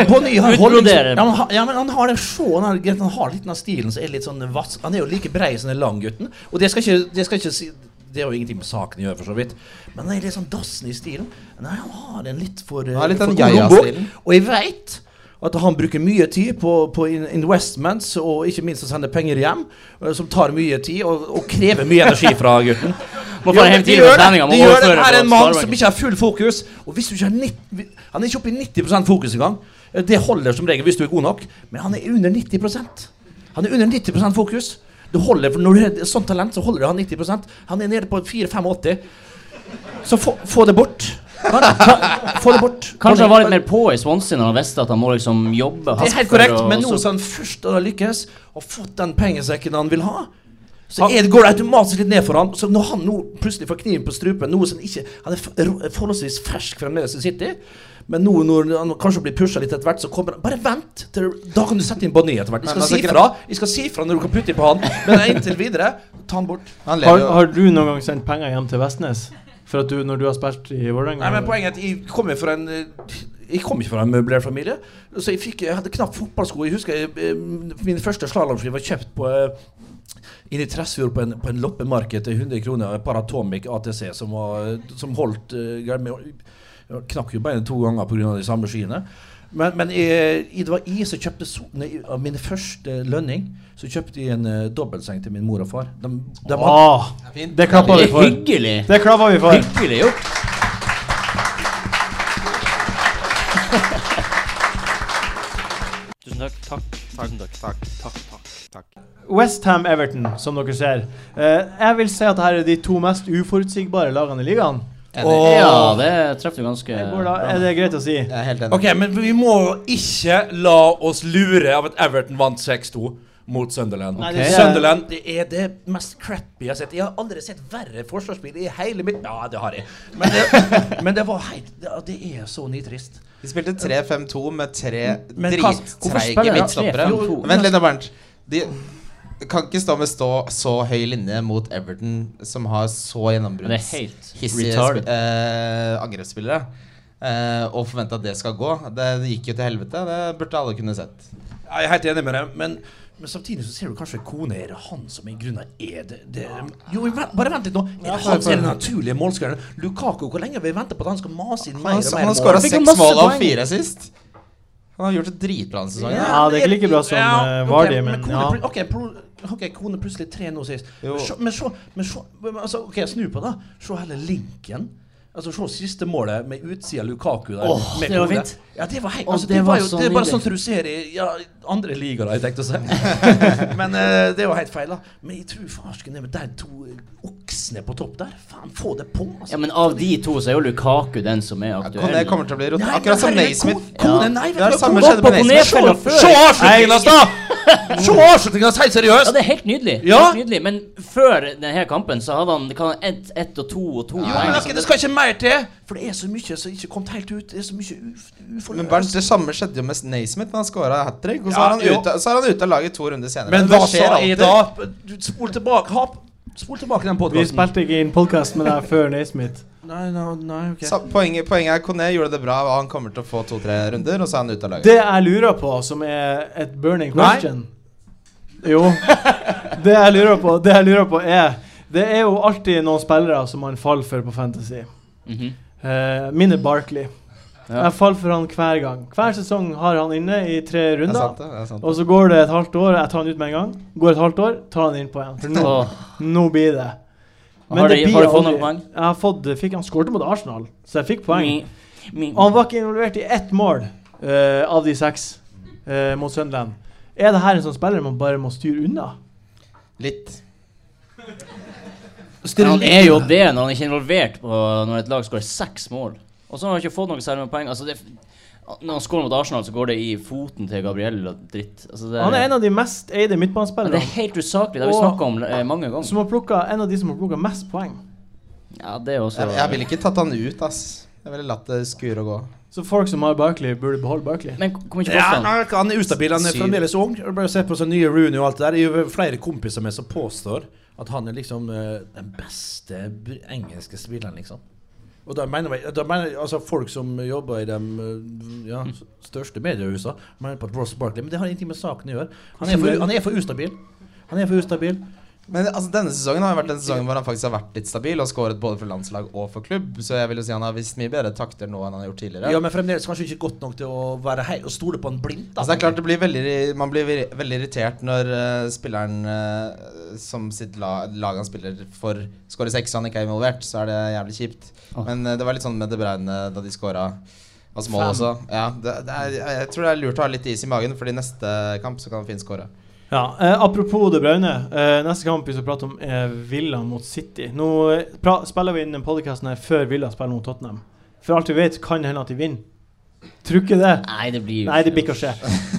Bonny har holdnings... Utbroderer. Ja, men, ha- ja, men han har den sjåen, han, har- han har litt den stilen som er litt sånn vass... Han er jo like brei som den langgutten. Og det skal ikke, det skal ikke si Det har jo ingenting med saken å gjøre, for så vidt. Men han er litt sånn dassen i stilen. Nei, han har den litt for eh, Han har litt for den god jaja-stilen. lommebok. Og jeg veit at han bruker mye tid på, på in- investments, og ikke minst å sende penger hjem, eh, som tar mye tid og, og krever mye energi fra gutten. Må Ja, få men hele det tiden gjør med det. treninga. Det gjør det. Her er en mann som ikke har full fokus. Og hvis du ikke har 90, Han er ikke oppe i 90 fokus engang. Det holder som regel hvis du er god nok, men han er under 90 Han er under 90 fokus. Det holder, for Når du har et sånt talent, så holder det å ha 90 Han er nede på 4-85. Så få, få det bort. Kan, kan, få det bort. Kanskje han var litt mer på i Swansea når han visste at han må liksom jobbe Det er helt hardt for korrekt, å- men nå så- som han først har lykkes, har fått den pengesekken han vil ha, så er det, går det automatisk litt ned for han. Så når han nå plutselig får kniven på strupen, noe som ikke Han er f- ro- forholdsvis fersk fremdeles i City, men nå når han kanskje blir pusha litt etter hvert, så kommer han Bare vent! Til, da kan du sette inn Bonny etter hvert. Jeg Men skal si altså, fra Jeg skal si fra når du kan putte inn på han, men inntil videre, ta han bort. Han Har, lever jo har du noen gang sendt penger hjem til Vestnes? For at du, når du har spilt i Vålerenga? Nei, men poenget er at jeg kommer fra en eh, Jeg kommer ikke fra en møblert familie. Så jeg, fikk, jeg hadde knapt fotballsko. Jeg husker jeg, eh, mine første slalåmski var kjøpt på eh, Inne i Tresfjord på en, på en loppemarked til 100 kroner. En Paratomic ATC som, var, som holdt eh, greier med Jeg knakk jo beinet to ganger pga. de samme skiene. Men, men jeg, jeg, det var jeg som kjøpte so nei, av min første lønning så kjøpte jeg en eh, dobbeltseng til min mor og far. De, de hadde- Ah, fint. det klappa Det vi er for. hyggelig. Det klappa vi for. Hyggelig gjort. Tusen takk. Takk. Westham Everton, som dere ser. Eh, jeg vil si at her er de to mest uforutsigbare lagene i ligaen. Enig. Ja, det treffer du ganske Det går da, er det greit å si? Jeg er helt enig. Ok, men vi må ikke la oss lure av at Everton vant 6-2 mot Sunderland. Nei, det er- Sunderland det er det mest crappy jeg har sett. Jeg har aldri sett verre forsvarsspill i hele mitt Ja, det har jeg. Men det, men det var helt det, det er så nitrist. De spilte 3-5-2 med tre Men hva- hvorfor drittreige spiller de midtstoppere. 3-5-2? Vent litt, da, Bernt. De kan ikke stå med stå så høy linje mot Everton, som har så Det er helt gjennombruddshissige retarded. sp- eh, angrepsspillere. Eh, og forvente at det skal gå. Det, det gikk jo til helvete. Det burde alle kunne sett. Ja, Jeg er helt enig med deg, men, men samtidig så ser du kanskje kone Er det han som i grunnen er det, det Jo, men vent- bare vent litt nå. Er det han som er den naturlige målskåreren? Lukaku, hvor lenge har vi venta på at han skal mase inn mer Han, og han mer har skåra Fikk jo seks masse mål og poeng. fire sist. Han har gjort det dritbra denne sesongen. Ja, det er ikke like bra som, eh, ok, Vardy, men kone, ja. pl- ok, pro, ok, kone plutselig tre nå sist. Jo. Sjå- Men se, men se men altså, Ok, snu på det. Se heller linken. Altså, Se siste målet med utsida Lukaku der. Åh, med det var Kone. fint. Ja, det var helt Åh, altså, det det, var var jo, så det er bare nydelig. sånn som du ser i ja, andre ligaer, har jeg tenkt å si. men eh, det er jo helt feil, da. Men jeg tror farsken er med de to eh, oks Eriksen er på topp der. Faen, få det på, altså. Ja, men av de to så er jo Lukaku den som er Ja, aktuell. Kone kommer til å bli rot. Nei, Akkurat som herregud, Naismith. Ko- Kone, nei, vet Det er det du hva, samme Kone skjedde med på Naismith. nedfella før! Se avslutninga, da! Se avslutninga, helt Ja, seriøst! det er helt nydelig. Ja. Helt nydelig. Men før denne kampen så hadde han kan, ett ett og to og to. Ja, poeng, men det liksom. skal- det skal ikke mer til! For det er så mye som ikke kom helt ut. Det er så mye uf- Men Bernt, uforløst. det samme skjedde jo med Naismith. Han skåra hat trick, og så, Ja, er han jo. ute, så er han ute av laget to runder senere. Men Det hva skjer sa jeg alltid. da? Du, Spol tilbake. Ha, spol tilbake den Vi podkasten. spilte ikke inn podkast med deg før Naismith. Nei, nei, nei, ok. Sa- Poenget, poenget er Kone gjorde det bra, og han kommer til å få to-tre runder, og så er han ute av laget. Det jeg lurer på, som er et burning Nei. question Jo. Det jeg lurer på, det jeg lurer på er Det er jo alltid noen spillere som man faller for på Fantasy. Mhm. Eh, min er Barkley. Ja. Jeg faller for han hver gang. Hver sesong har han inne i tre Det er runder. sant, det. det er sant. Og så går det et halvt år, jeg tar han ut med en gang. Går et halvt år, tar han inn på igjen. For nå, Åh. nå blir det. Har de- har du aldri- fått noen poeng? Mm. Jeg har fått, fikk, han skårte mot Arsenal, så jeg fikk poeng. Mi- mi- Og han var ikke involvert i ett mål eh, av de seks eh, mot Sunderland. Er det her en sånn spiller man bare må styre unna? Litt. Men han er jo det når han ikke er involvert på når et lag skårer seks mål. Og så har han ikke fått noe særlig med poeng. Altså det, når han skårer mot Arsenal, så går det i foten til Gabriel og dritt. Altså det, Han er en av de mest eide Ja, det midtbanespillerne. er helt usaklig. Det har vi Og- snakket om eh, mange ganger. Som har plukka, en av de som har plukka mest poeng. Ja, det er også Jeg, jeg ville ikke tatt han ut, ass. Jeg ville latt det skure og gå. Så folk som har Barkley, burde beholde Barkley. Men kom- kom ikke på sånn. Ja, han. nei, han er ustabil, han er Syv. fremdeles ung. Jeg Bare se på sånne nye Rooney og alt det der. Det er jo flere kompiser med som påstår at han er liksom eh, den beste br- engelske spilleren, liksom. Og da mener, vi- da mener jeg, altså folk som jobber i de eh, ja, s- største mediehusene, mener på at Ross Barkley Men det har ingenting med saken å gjøre. Han er for, han er for ustabil. Han er for ustabil. Men altså, denne sesongen har jo vært den sesongen hvor han faktisk har vært litt stabil og skåret både for landslag og for klubb, så jeg vil jo si han har vist mye bedre takter nå enn han har gjort tidligere. Ja, men fremdeles kanskje ikke godt nok til å være hei og stole på han blindt. da. Altså, det er klart det blir veldig, Man blir vir- veldig irritert når eh, spilleren eh, som sitt la, lag han spiller for, skårer seks og han ikke er involvert. Så er det jævlig kjipt. Åh. Men eh, det var litt sånn med De Bruyne da de skåra altså mål Fem. også. Ja, det, det er, jeg- jeg tror det er lurt å ha litt is i magen, for i neste kamp så kan Finn skåre. Ja, eh, Apropos De Braune. Eh, neste kamp vi skal prate om, er Villa mot City. Nå eh, pra spiller vi inn den podcasten her før Villa spiller mot Tottenham. For alt vi vet, kan det hende at de vinner. Tror ikke det. Nei, det blir jo Nei, det blir ikke å skje.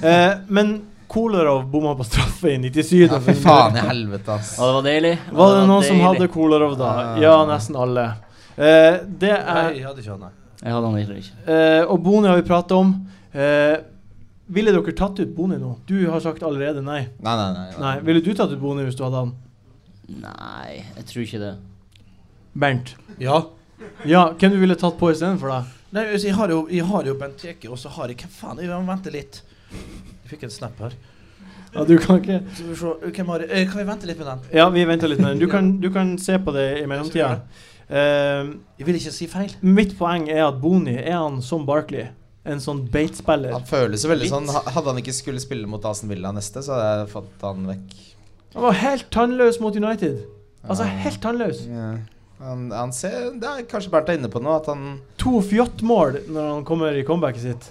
Eh, men Kolarov bomma på straffe i 97. Ja, fy faen i helvete, ass. Ja, det var deilig. Ja, Var det noen som deilig. hadde Kolarov da? Ah. Ja, nesten alle. Eh, det er Nei, jeg hadde ikke han, nei. Jeg hadde han heller ikke. Eh, og Boni har vi prata om. Eh, ville dere tatt ut Boni nå? Du har sagt allerede nei. Nei, nei, nei. nei. Nei, Ville du tatt ut Boni hvis du hadde han? Nei, jeg tror ikke det. Bernt. Ja. Ja, hvem du ville tatt på istedenfor deg? Nei, altså, jeg har jo, jeg har jo Benteke, og så har jeg Hvem faen? Jeg må vente litt. Jeg fikk en snap her. Ja, du kan ikke Så vi får se, hvem har jeg? Eh, Kan vi vente litt med den? Ja, vi venter litt med den. Du kan, du kan se på det i mellomtida. Eh, Jeg vil ikke si feil. mitt poeng er at Boni er han som Barkley. En sånn beitspiller. Han føles jo veldig Litt. sånn ha- Hadde han ikke skulle spille mot Aston Villa neste, så hadde jeg fått han vekk. Han var helt tannløs mot United. Altså helt tannløs. Ja. Han, han ser Det er kanskje Bernt er inne på nå, at han To fjottmål når han kommer i comebacket sitt.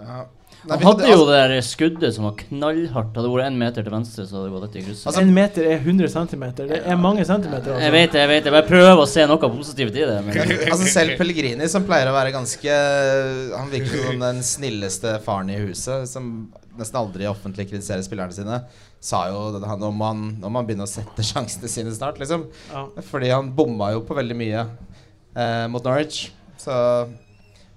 ja. Nei, Hmm. Han vi- hadde altså- jo det der skuddet som var knallhardt. Hadde det vært én meter til venstre, så hadde det gått rett i krysset. En meter er 100 cm. Det er mange centimeter. altså. Jeg vet det, jeg vet det. Bare prøv å se noe positivt i det. Men Altså Selv Pellegrini, som pleier å være ganske Han virker som den snilleste faren i huset, som nesten aldri offentlig kritiserer spillerne sine, sa jo det- han- om han, om han begynner å sette sjansene sine snart, liksom. Ja. Fordi han bomma jo på veldig mye eh, mot Norwich. Så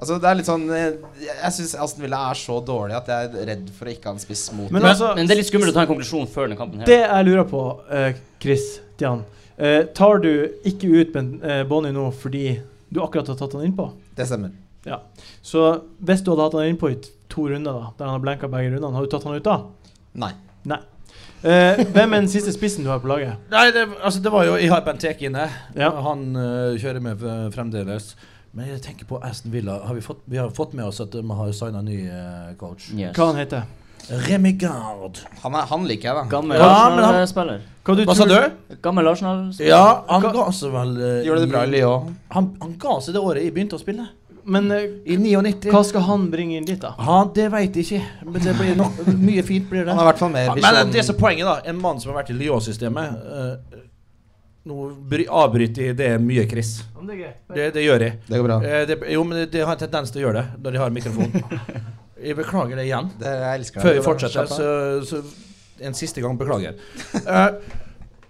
Altså, det er litt sånn eh, Jeg syns Aston Villa er så dårlig at jeg er redd for å ikke ha en spiss mot Men dem. altså, men det er litt skummelt å ta en konklusjon før den kampen her. Det jeg lurer på, eh, Chris Stian. eh, tar du ikke ut ben, eh, Bonnie nå fordi du akkurat har tatt han innpå? Det stemmer. Så hvis du hadde hatt han innpå i t- to runder, da, der han har blenka begge rundene, har du tatt han ut da? Nei. Eh, hvem er den siste spissen du har på laget? Nei, det, altså, det var jo Jeg har Benteke inne. Ja. Han eh, kjører med eh, fremdeles. Men jeg tenker på Aston Villa. Har vi, fått, vi har fått med oss at de har signa ny eh, coach. Yes. Hva han heter Remy Gard. Han, er, han liker jeg, da. Gammel Ja, men han- Arsenal-spiller. Hva, du Hva sa tror- du? Gammel Arsenal-spiller. Ja, han ga seg vel eh, Gjorde det bra i i- Lyon. Han, han ga seg det året jeg begynte å spille. Men eh, I 99. hva skal han bringe inn dit, da? Ja, det veit jeg ikke. Men det blir nok mye fint. blir det Eh, Han har i hvert fall mer Ja, Men det er visjon. så poenget, da. En mann som har vært i Lyon-systemet eh, Nå bry- avbryter jeg det mye, Chris. Ja, men det er greit. Det- Det, det gjør jeg. Det går bra. Eh, det, jo, men det- det har en tendens til å gjøre det når de har mikrofon. Jeg beklager det igjen. Det, jeg elsker det. Før Det vi går bra. fortsetter, Slapp av. så, så en siste gang beklager. Eh,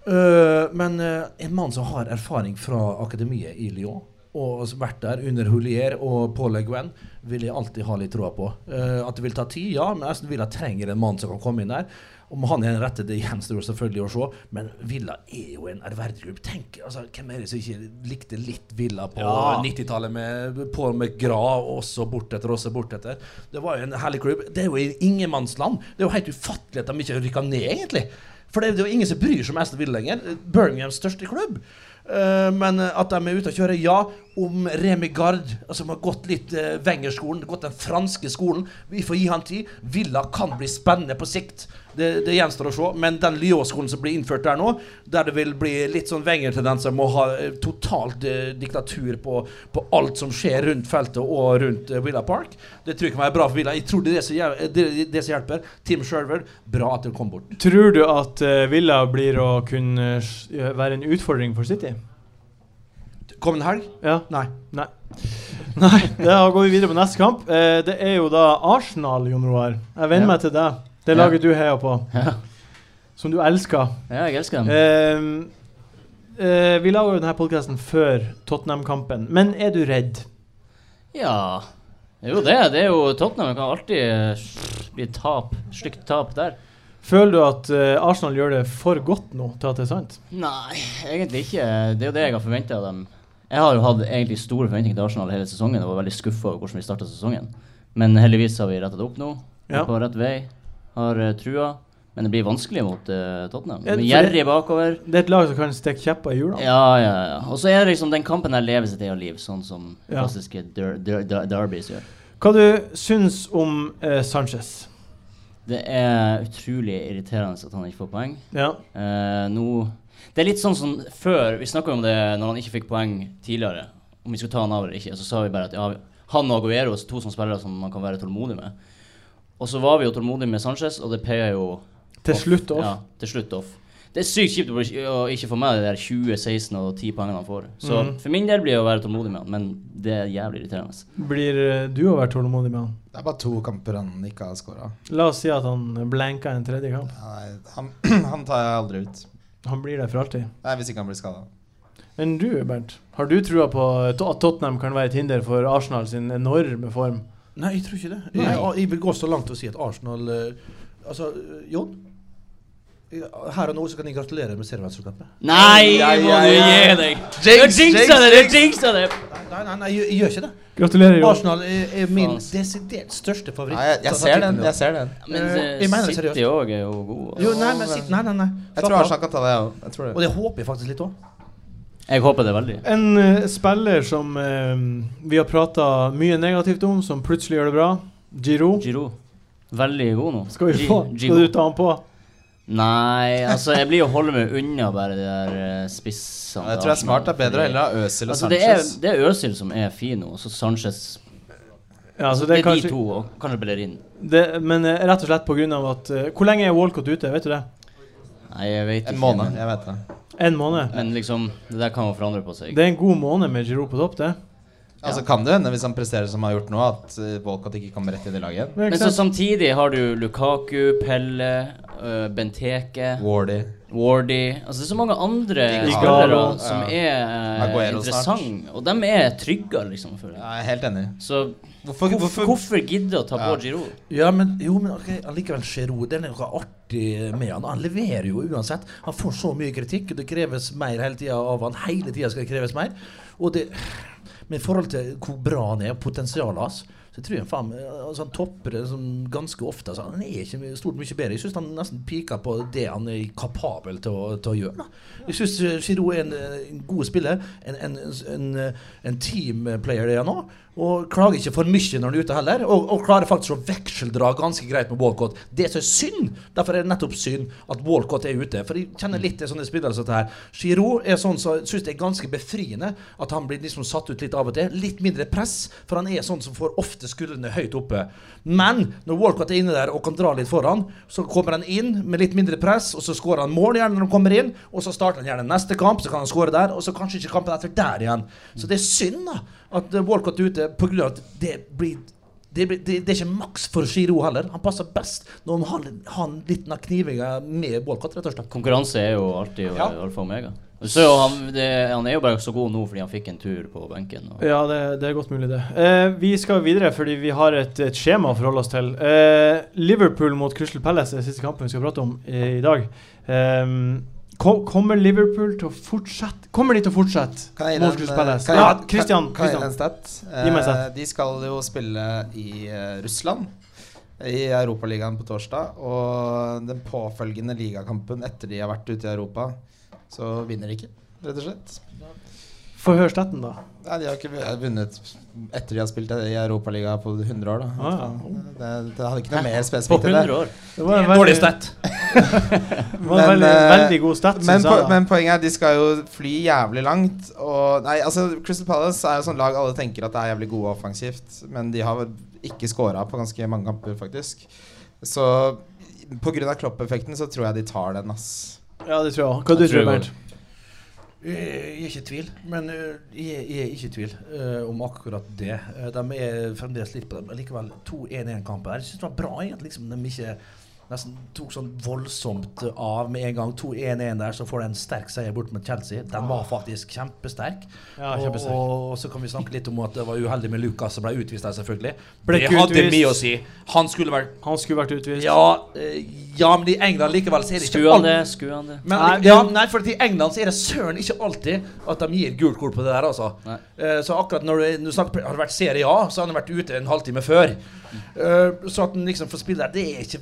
eh, men eh, en mann som har erfaring fra akademiet i Lyon, og som har vært der under Hulier og Paul Le Guin, vil jeg alltid ha litt troa på. Eh, at det vil ta tid, ja, men Aston Villa trenger en mann som kan komme inn der. Om han er den rette, det gjenstår selvfølgelig å se, men Villa er jo en ærverdig klubb. Tenk, altså, hvem er det som ikke likte litt Villa på Ja. 90-tallet med Paul McGrath og også bortetter og også bortetter? Det var jo en herlig klubb. Det er jo i ingenmannsland. Det er jo helt ufattelig at de ikke rykka ned, egentlig. For det er jo ingen som bryr seg om Aston Villa lenger. Birminghams største klubb. Eh, men eh, at de er ute og kjører, ja. Om Remi Gard, som har gått litt uh, Wenger-skolen, gått den franske skolen Vi får gi han tid. Villa kan bli spennende på sikt. Det, det gjenstår å se. Men den Lyon-skolen som blir innført der nå, der det vil bli litt sånn Wenger-tendenser med å ha eh, totalt eh, diktatur på, på alt som skjer rundt feltet og rundt eh, Villa Park, det tror jeg kan være bra for Villa. Jeg tror det er det som hjel- det, det som hjelper. Tim Sherwood, bra at han kom bort. Tror du at eh, Villa blir å kunne s- være en utfordring for City? Kommende helg? Ja. Nei. Nei, da går vi videre på neste kamp. Eh, det er jo da Arsenal, Jon Roar. Jeg venner Ja. meg til deg. Det Ja. laget du heier på. Som du elsker. Ja, jeg elsker dem. Ehm, eh, vi lager jo denne podkasten før Tottenham-kampen. Men er du redd? Ja Jo, det. Det er jo Tottenham. Det kan alltid eh, bli tap. Stygt tap der. Føler du at eh, Arsenal gjør det for godt nå til at det er sant? Nei, egentlig ikke. Det er jo det jeg har forventa av dem. Jeg har jo hatt egentlig store forventninger til Arsenal hele sesongen og var veldig skuffa over hvordan vi starta sesongen. Men heldigvis har vi retta det opp nå. Vi Ja. er på rett vei. Har eh, trua. Men det blir vanskelig mot eh, Tottenham. Ja, for Med det- gjerrig bakover. Det er et lag som kan stikke kjepper i hjulene. Ja, ja, ja. Og så er det liksom den kampen der lever sitt eget liv, sånn som Ja. klassiske der, der, der, derbys gjør. Hva du syns om eh, Sanchez? Det er utrolig irriterende at han ikke får poeng. Ja. Eh, nå Det er litt sånn som før Vi snakka om det når han ikke fikk poeng tidligere. Om vi skulle ta han av eller ikke. Så sa vi bare at ja, han og Aguero er to sånne spillere som man kan være tålmodig med. Og så var vi jo tålmodige med Sanchez, og det payer jo Til off. slutt off. Ja, til slutt off. Det er sykt kjipt å bli- å ikke få med de der 20, 16 og 10 poengene han får. Så Mhm. for min del blir det å være tålmodig med han, men det er jævlig irriterende. Blir eh, du å være tålmodig med han? Det er bare to kamper han ikke har scora. La oss si at han blanka en tredje kamp. Han, han tar jeg aldri ut. Han blir der for alltid. Nei, Hvis ikke han blir skada. Men du, Bernt, har du trua på at Tottenham kan være et hinder for Arsenal sin enorme form? Nei, jeg tror ikke det. Nei. Jeg, jeg vil gå så langt og si at Arsenal eh, Altså, eh, Jon. eh, Her og nå så kan jeg gratulere med seriemesterskapet. Nei, Ja, må ja, du ja. gi deg! Du jinxa det! Du jinxa det! Nei, nei, nei, jeg, jeg gjør ikke det. Gratulerer, Jon. Arsenal er, er min Faen. desidert største favoritt. Nei, jeg, jeg ser den. Jeg ser den. Men Eh, eh, jeg mener det City òg er jo god. altså. Jo, nei, men sitt, nei, nei, nei. Jeg tror Slapp av. Arsenal kan ta det, jeg òg. Jeg tror Og det. det håper jeg faktisk litt òg. Jeg håper det veldig. En eh, spiller som eh, vi har prata mye negativt om, som plutselig gjør det bra, Giro. Giro. Veldig god nå. Skal vi Gi- få Giro. Skal du ta han på? Nei, altså jeg blir å holde meg unna bare de der eh, spissene. Jeg til tror det er Arsenal, smart. Det er bedre å fordi- heller ha Øzil og altså, det, er, Sanchez. det er Øzil som er fin nå, og så Sanchez. Ja, så det, Altså, det er er kanskje, de to, og kanskje Bellerin. det, men eh, rett og slett på grunn av at eh, Hvor lenge er Walcott ute? Vet du det? Nei, jeg vet ikke. En måned. Men, Jeg vet det. En måned? men liksom, det der kan jo forandre på seg. Det er en god måned med Giroud på topp, det. Altså Kan det hende, hvis han presterer som han har gjort nå, at eh, Walcott ikke kommer rett inn i laget igjen? Men men ikke så sant? samtidig har du Lukaku, Pelle, eh, Benteke, Wardy. Wardy Altså det er så mange andre Igalo, spillere ja. som er eh, Aguero snart. interessante, og de er trygge, liksom, føler jeg. Jeg er helt enig. Så Hvorfor, hvorfor, hvorfor hvorfor gidde å ta på Ja. Giroud? Ja, men jo, men ok, allikevel Giroud, det er noe artig med han. Han leverer jo uansett. Han får så mye kritikk, og det kreves mer hele tida av han. Hele tida skal det kreves mer. Og det Men i forhold til hvor bra han er, og potensialet hans, så tror jeg faen meg altså Han topper det sånn ganske ofte. Altså, han er ikke my- stort mye bedre. Jeg syns han nesten piker på det han er kapabel til å, til å gjøre. Da. Jeg eh, syns Giroud er en, eh, en god spiller. En, en, en, en eh, teamplayer det er nå. Og klager ikke for mye når han er ute heller. Og, og klarer faktisk å vekseldra ganske greit med Walcott. Det som er synd, derfor er det nettopp synd at Walcott er ute. For jeg kjenner litt til sånne spillere som dette her. Giroud er sånn som syns det er ganske befriende at han blir liksom satt ut litt av og til. Litt mindre press, for han er sånn som får ofte skuldrene høyt oppe. Men når Walcott er inne der og kan dra litt foran, så kommer han inn med litt mindre press, og så skårer han mål gjerne når han kommer inn, og så starter han gjerne neste kamp, så kan han skåre der, og så kanskje ikke kampen etter der igjen. Så det er synd da at eh, Walcott er ute på grunn av at det blir det, blir, det, det er ikke maks for Giro heller. Han passer best når han har, har en liten knivinga med Walcott, rett og slett. Konkurranse er jo alltid Ja. eh, alfa og omega. Så jo, han, det, han er jo bare så god nå fordi han fikk en tur på benken. Og, Ja, det, det er godt mulig, det. Eh, vi skal videre fordi vi har et, et skjema å forholde oss til. Eh, Liverpool mot Crystal Palace er siste kampen vi skal prate om i, i dag. Eh, ko- kommer Liverpool til å fortsette Kommer de til å fortsette Kan jeg gi mot den, Crystal eh, Palace? kan jeg- Ja, kan- Christian. Kan jeg gi den Christian. stat? Gi meg en Eh, stat. De skal jo spille i eh, Russland i Europaligaen på torsdag. Og den påfølgende ligakampen etter de har vært ute i Europa, så vinner de ikke, rett og slett. Få høre stetten, da. Nei, De har ikke vun- vunnet etter de har spilt i Europaligaen på 100 år, da. Ah, Det, det hadde ikke noe mer på spesifikt enn det. 100 år. Det var en Dårlig veldig, stett. det var en Men, veldig, eh, veldig god stat, Men, syns po jeg. da. men poenget er at de skal jo fly jævlig langt. Og, nei, altså Crystal Palace er jo sånn lag alle tenker at det er jævlig gode offensivt, men de har ikke scora på ganske mange kamper, faktisk. Så pga. Klopp-effekten så tror jeg de tar den, ass. Ja, det tror jeg òg. Hva du Jeg tror tror jeg du, Bernt? Eh, Jeg er ikke i tvil, men eh, jeg jeg er ikke i tvil eh, om akkurat det. Eh, De er fremdeles litt på det, men likevel 2-1-1-kamper. Jeg syns det var bra egentlig, at liksom, de ikke nesten tok sånn voldsomt av med en gang. 2-1-1 der, så får de en sterk seier bort mot Chelsea. Den var faktisk kjempesterk. Ja, kjempesterk. og, og så kan vi snakke litt om at det var uheldig med Lucas som ble utvist der, selvfølgelig. Ble det ikke hadde utvist. mye å si. Han skulle vært Han skulle vært utvist. Ja, eh, ja men i England likevel så er det ikke Skue han alt- det? Skue han det? men, Nei, ja, nei, for i England så er det søren ikke alltid at de gir gult kort på det der, altså. Nei. Eh, så akkurat når du, når du snakker, har det vært Serie A, så har han vært ute en halvtime før. Eh, så at han liksom får spille der, det er ikke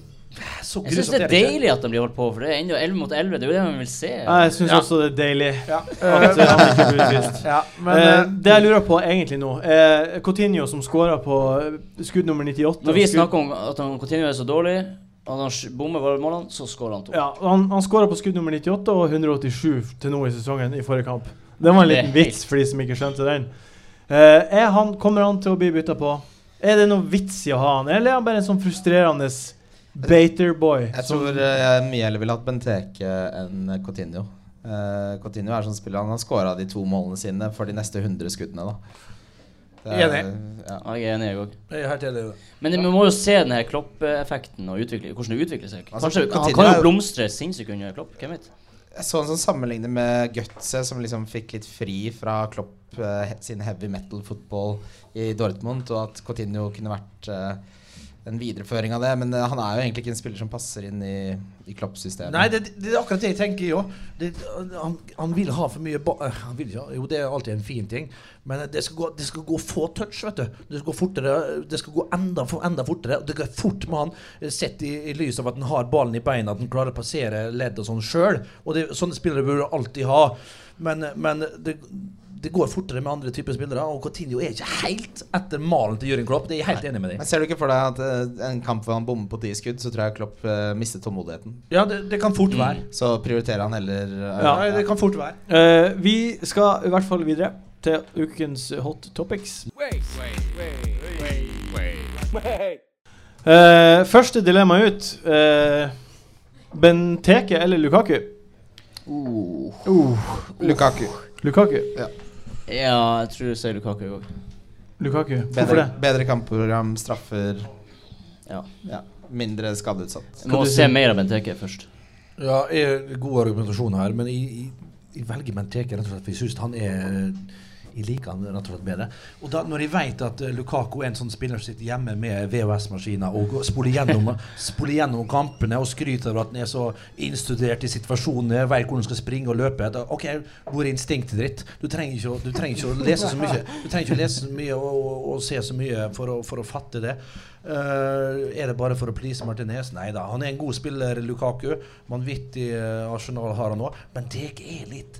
så Jeg syns grusomt. det er det ikke. deilig at de blir holdt på, for det er ennå 11 mot 11. Det er jo det man vil se. Jeg syns Ja. også det er deilig Ja. at eh, han ikke blir utvist. Ja, eh, det jeg lurer på egentlig nå eh, Coutinho som skåra på eh, skudd nummer 98 Når vi skudd- snakker om at han continuer er så dårlig, at han sk- bommer bare målene, så skårer han to. Ja, han, han skåra på skudd nummer 98 og 187 til nå i sesongen i forrige kamp. Det var en Det er liten vits for de som ikke skjønte den. Eh, er han, kommer han til å bli bytta på? Er det noe vits i å ha han, eller er han bare en sånn frustrerende bater boy? Jeg som- tror eh, jeg mye heller ville hatt Benteke enn Cotinho. Cotinho er sånn spiller Han har scora de to målene sine for de neste 100 skuddene, da. Enig. Ja. Ja, jeg er enig, jeg òg. Jeg er helt enig i det. Men vi må jo se den her Klopp-effekten og utvikle, hvordan det utvikler seg. Altså, Kanskje, han Coutinho kan er jo jo- blomstre sinnssykt under Klopp. Hvem vet? Jeg så en sånn sammenligning med Götze, som liksom fikk litt fri fra Klopp eh, he- sin heavy metal-fotball i Dortmund, og at Coutinho kunne vært eh, en videreføring av det. Men eh, han er jo egentlig ikke en spiller som passer inn i, i Klopp-systemet. Nei, det, det er akkurat det jeg tenker, jo. Det, han, han vil ha for mye ba eh, han vil, ikke ha- Jo, det er alltid en fin ting, men det skal gå, det skal gå få touch, vet du. Det skal gå fortere, det skal gå enda, for- enda fortere. og Det går fort med han, eh, sett i, i lys av at han har ballen i beina, at han klarer å passere ledd og sånn sjøl. Og det, sånne spillere burde du alltid ha. Men, men det, det går fortere med andre typer spillere, og Coutinho er ikke helt etter malen til Jørgen Klopp. Det er jeg helt enig med deg i. Men ser du ikke for deg at eh, en kamp hvor han bommer på ti skudd, så tror jeg Klopp eh, mister tålmodigheten. Ja, det, det kan fort være. Så prioriterer han heller eh, Ja, Mm. Ja, det kan fort være. Eh, vi skal i hvert fall videre til ukens hot topics. Eh, første dilemma ut. eh, Benteke eller Lukaku? Uh, Lukaku. Lukaku. Ja, jeg tror jeg sier Lukaku òg. Lukaku. Hvorfor Bedre, det? bedre kampprogram, straffer, Ja. ja, mindre skadeutsatt. Jeg må du se si- mer av Benteke først. Ja, jeg, god argumentasjon her, men jeg, jeg, jeg velger Benteke rett og slett for jeg syns han er Jeg liker han rett og slett bedre. Og da, når jeg vet at eh, Lukako er en sånn spiller som sitter hjemme med VHS-maskiner og går- spoler gjennom, spoler gjennom kampene og skryter av at han er så innstudert i situasjonene, vet hvor han skal springe og løpe da, OK, hvor er instinktet ditt? Du trenger ikke å, du trenger ikke å lese så mye Du trenger ikke å lese så mye og, og, og se så mye for å, for å fatte det. Eh, er det bare for å please Martinez? Nei da. Han er en god spiller, Lukaku. Vanvittig eh, arsenal har han òg. Men det er litt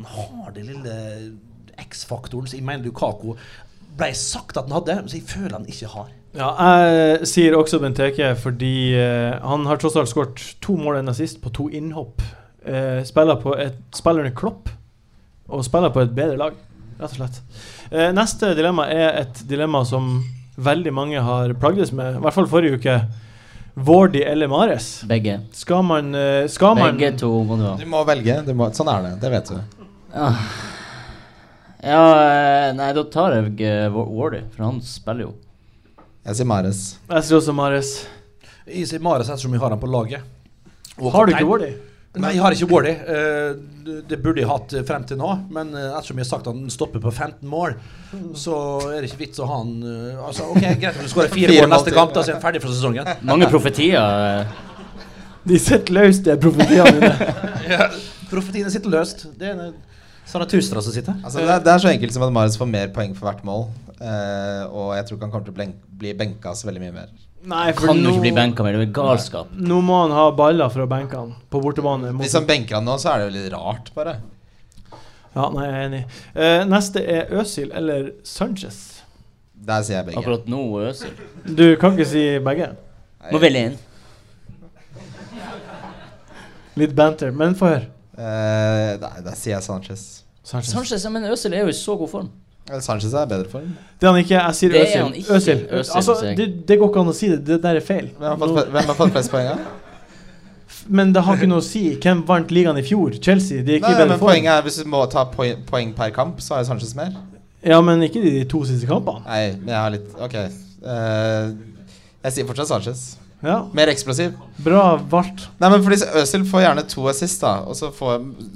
Han har det lille X-faktoren. så Jeg mener Lukaku ble sagt at han hadde, så jeg føler han ikke har. Ja, jeg sier også Benteke fordi eh, han har tross alt skåret to mål enn sist på to innhopp. Eh, spiller, på et, spiller under Klopp og spiller på et bedre lag, rett og slett. Eh, neste dilemma er et dilemma som veldig mange har plagdes med, i hvert fall forrige uke. Vardy eller Mares? Begge. Skal man, eh, skal man Begge to må du ha. Du må velge. Du må, sånn er det. Det vet du. Ja. Ah. ja eh, Nei, da tar jeg eh, Wa- Wardy, for han spiller jo. Jeg sier Mares. Jeg sier også Mares. Jeg sier Mares ettersom jeg har han på laget. Og Har du kaptein. ikke Wardy? Nei, jeg har ikke Wardy. Eh, det- det burde jeg hatt eh, frem til nå, men eh, ettersom jeg har sagt at han stopper på 15 mål, så er det ikke vits å ha han eh, Altså, OK, greit om du skårer fire Fire mål neste måltid. kamp, da så er han ferdig for sesongen. Mange profetier. eh. De sitter løst, de profetiene dine. Profetiene sitter løst. Det er en- Sara Tustra som sitter her. Altså, det, er, det er så enkelt som at Mares får mer poeng for hvert mål. eh, og jeg tror ikke han kommer til å blen- bli benka så veldig mye mer. Nei, for Kan jo nå, ikke bli benka mer. Det er jo galskap. nå må han ha baller fra benkene på bortebane. mot- Hvis han benker han nå, så er det jo litt rart, bare. Ja, nei, jeg er enig. Eh, neste er Øsil eller Sanchez. Der sier jeg begge. Akkurat nå Øsil. Du kan ikke si begge. Må velge en. Litt banter, men få høre. Eh, nei, der sier jeg Sanchez. Sanchez. Sanchez, ja, men Øsil er jo i så god form. Eller Sanchez er i bedre form. Det er han ikke. Jeg sier Det er Øsil. han ikke. Øsil. Özil, Altså, sier jeg. det, det går ikke an å si det. Det der er feil. Hvem har fått, Nå- hvem har fått flest poeng? da? men det har ikke noe å si. Hvem vant ligaen i fjor? Chelsea. De er ikke Nei, i bedre men form. poenget er Hvis du må ta poeng, poeng per kamp, så har jo Sanchez mer. Ja, men ikke de to siste kampene. Nei, men jeg har litt Ok. Eh, jeg sier fortsatt Sanchez. Ja, Mer eksplosiv. Bra valgt. Nei, men fordi Øzil får gjerne to assist, da. Og så får,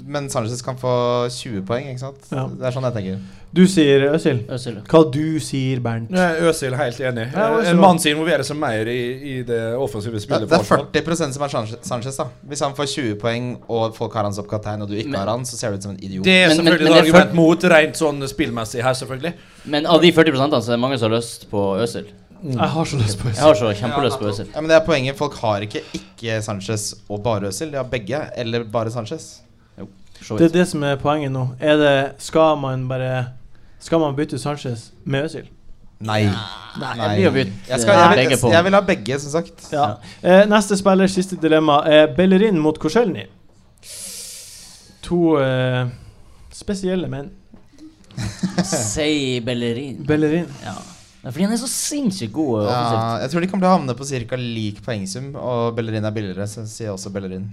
men Sanchez kan få 20 poeng, ikke sant? Ja. Det er sånn jeg tenker. Du sier Øsil. Øsil. Hva du sier, Bernt. Øsil helt enig. Ja, Özil. en mann som involverer seg mer i, i det offensive Det, spillet. det på er Arsenal. 40 som er Sanchez, Sanchez, da. Hvis han får 20 poeng, og folk har han som kaptein, og du ikke har han, så ser du ut som en idiot. Det er Men- men- selvfølgelig men et det er argument mot, rent sånn spillmessig her, selvfølgelig. Men av de 40 så er det mange som har lyst på Øsil. Jeg har så lyst på Jeg har så kjempelyst på Øsil. Ja, men det er poenget. Folk har ikke ikke Sanchez og bare Øzil. De har begge, eller bare Sanchez. Så Det vidt. er det som er poenget nå. Er det Skal man bare Skal man bytte Sanchez med Øsil? Nei. Nei, Nei. jeg blir jo bytt eh, Jeg, skal, jeg, begge vil, på. jeg vil ha begge, som sagt. Ja. Eh, neste spiller, siste dilemma, er Bellerin mot Korselny. To eh, spesielle menn. Sei Bellerin. Bellerin. Ja. Men fordi han er så sinnssykt god. eh, offensivt. Ja, jeg tror de kommer til å havne på ca. lik poengsum, og Bellerin er billigere, så sier jeg også Bellerin.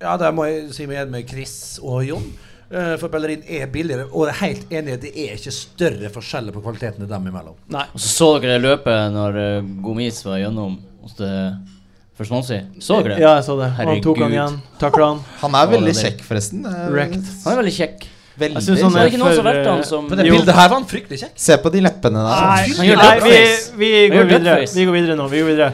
Ja, der må jeg si meg igjen med Chris og Jon. Eh, For Bellerin er billigere, og jeg er helt enig, det er ikke større forskjeller på kvalitetene dem imellom. Mm. Nei. Og så så dere det løpet når eh, Gomis var gjennom hos det første måned siden. Så dere det? Ja, jeg så det. Han Herregud. tok han igjen. Takla han. Han er Å, veldig det er- kjekk, forresten. Eh, Wrecked. Han er veldig kjekk. Jeg Veldig synes han Så er det ikke noen for, som har vært eh, han som På det Jo. bildet her var han fryktelig kjekk. Se på de leppene der. Nei, Han gjør nei vi, duckface. vi Han går gjør videre. duckface. Vi går videre nå. Vi går videre.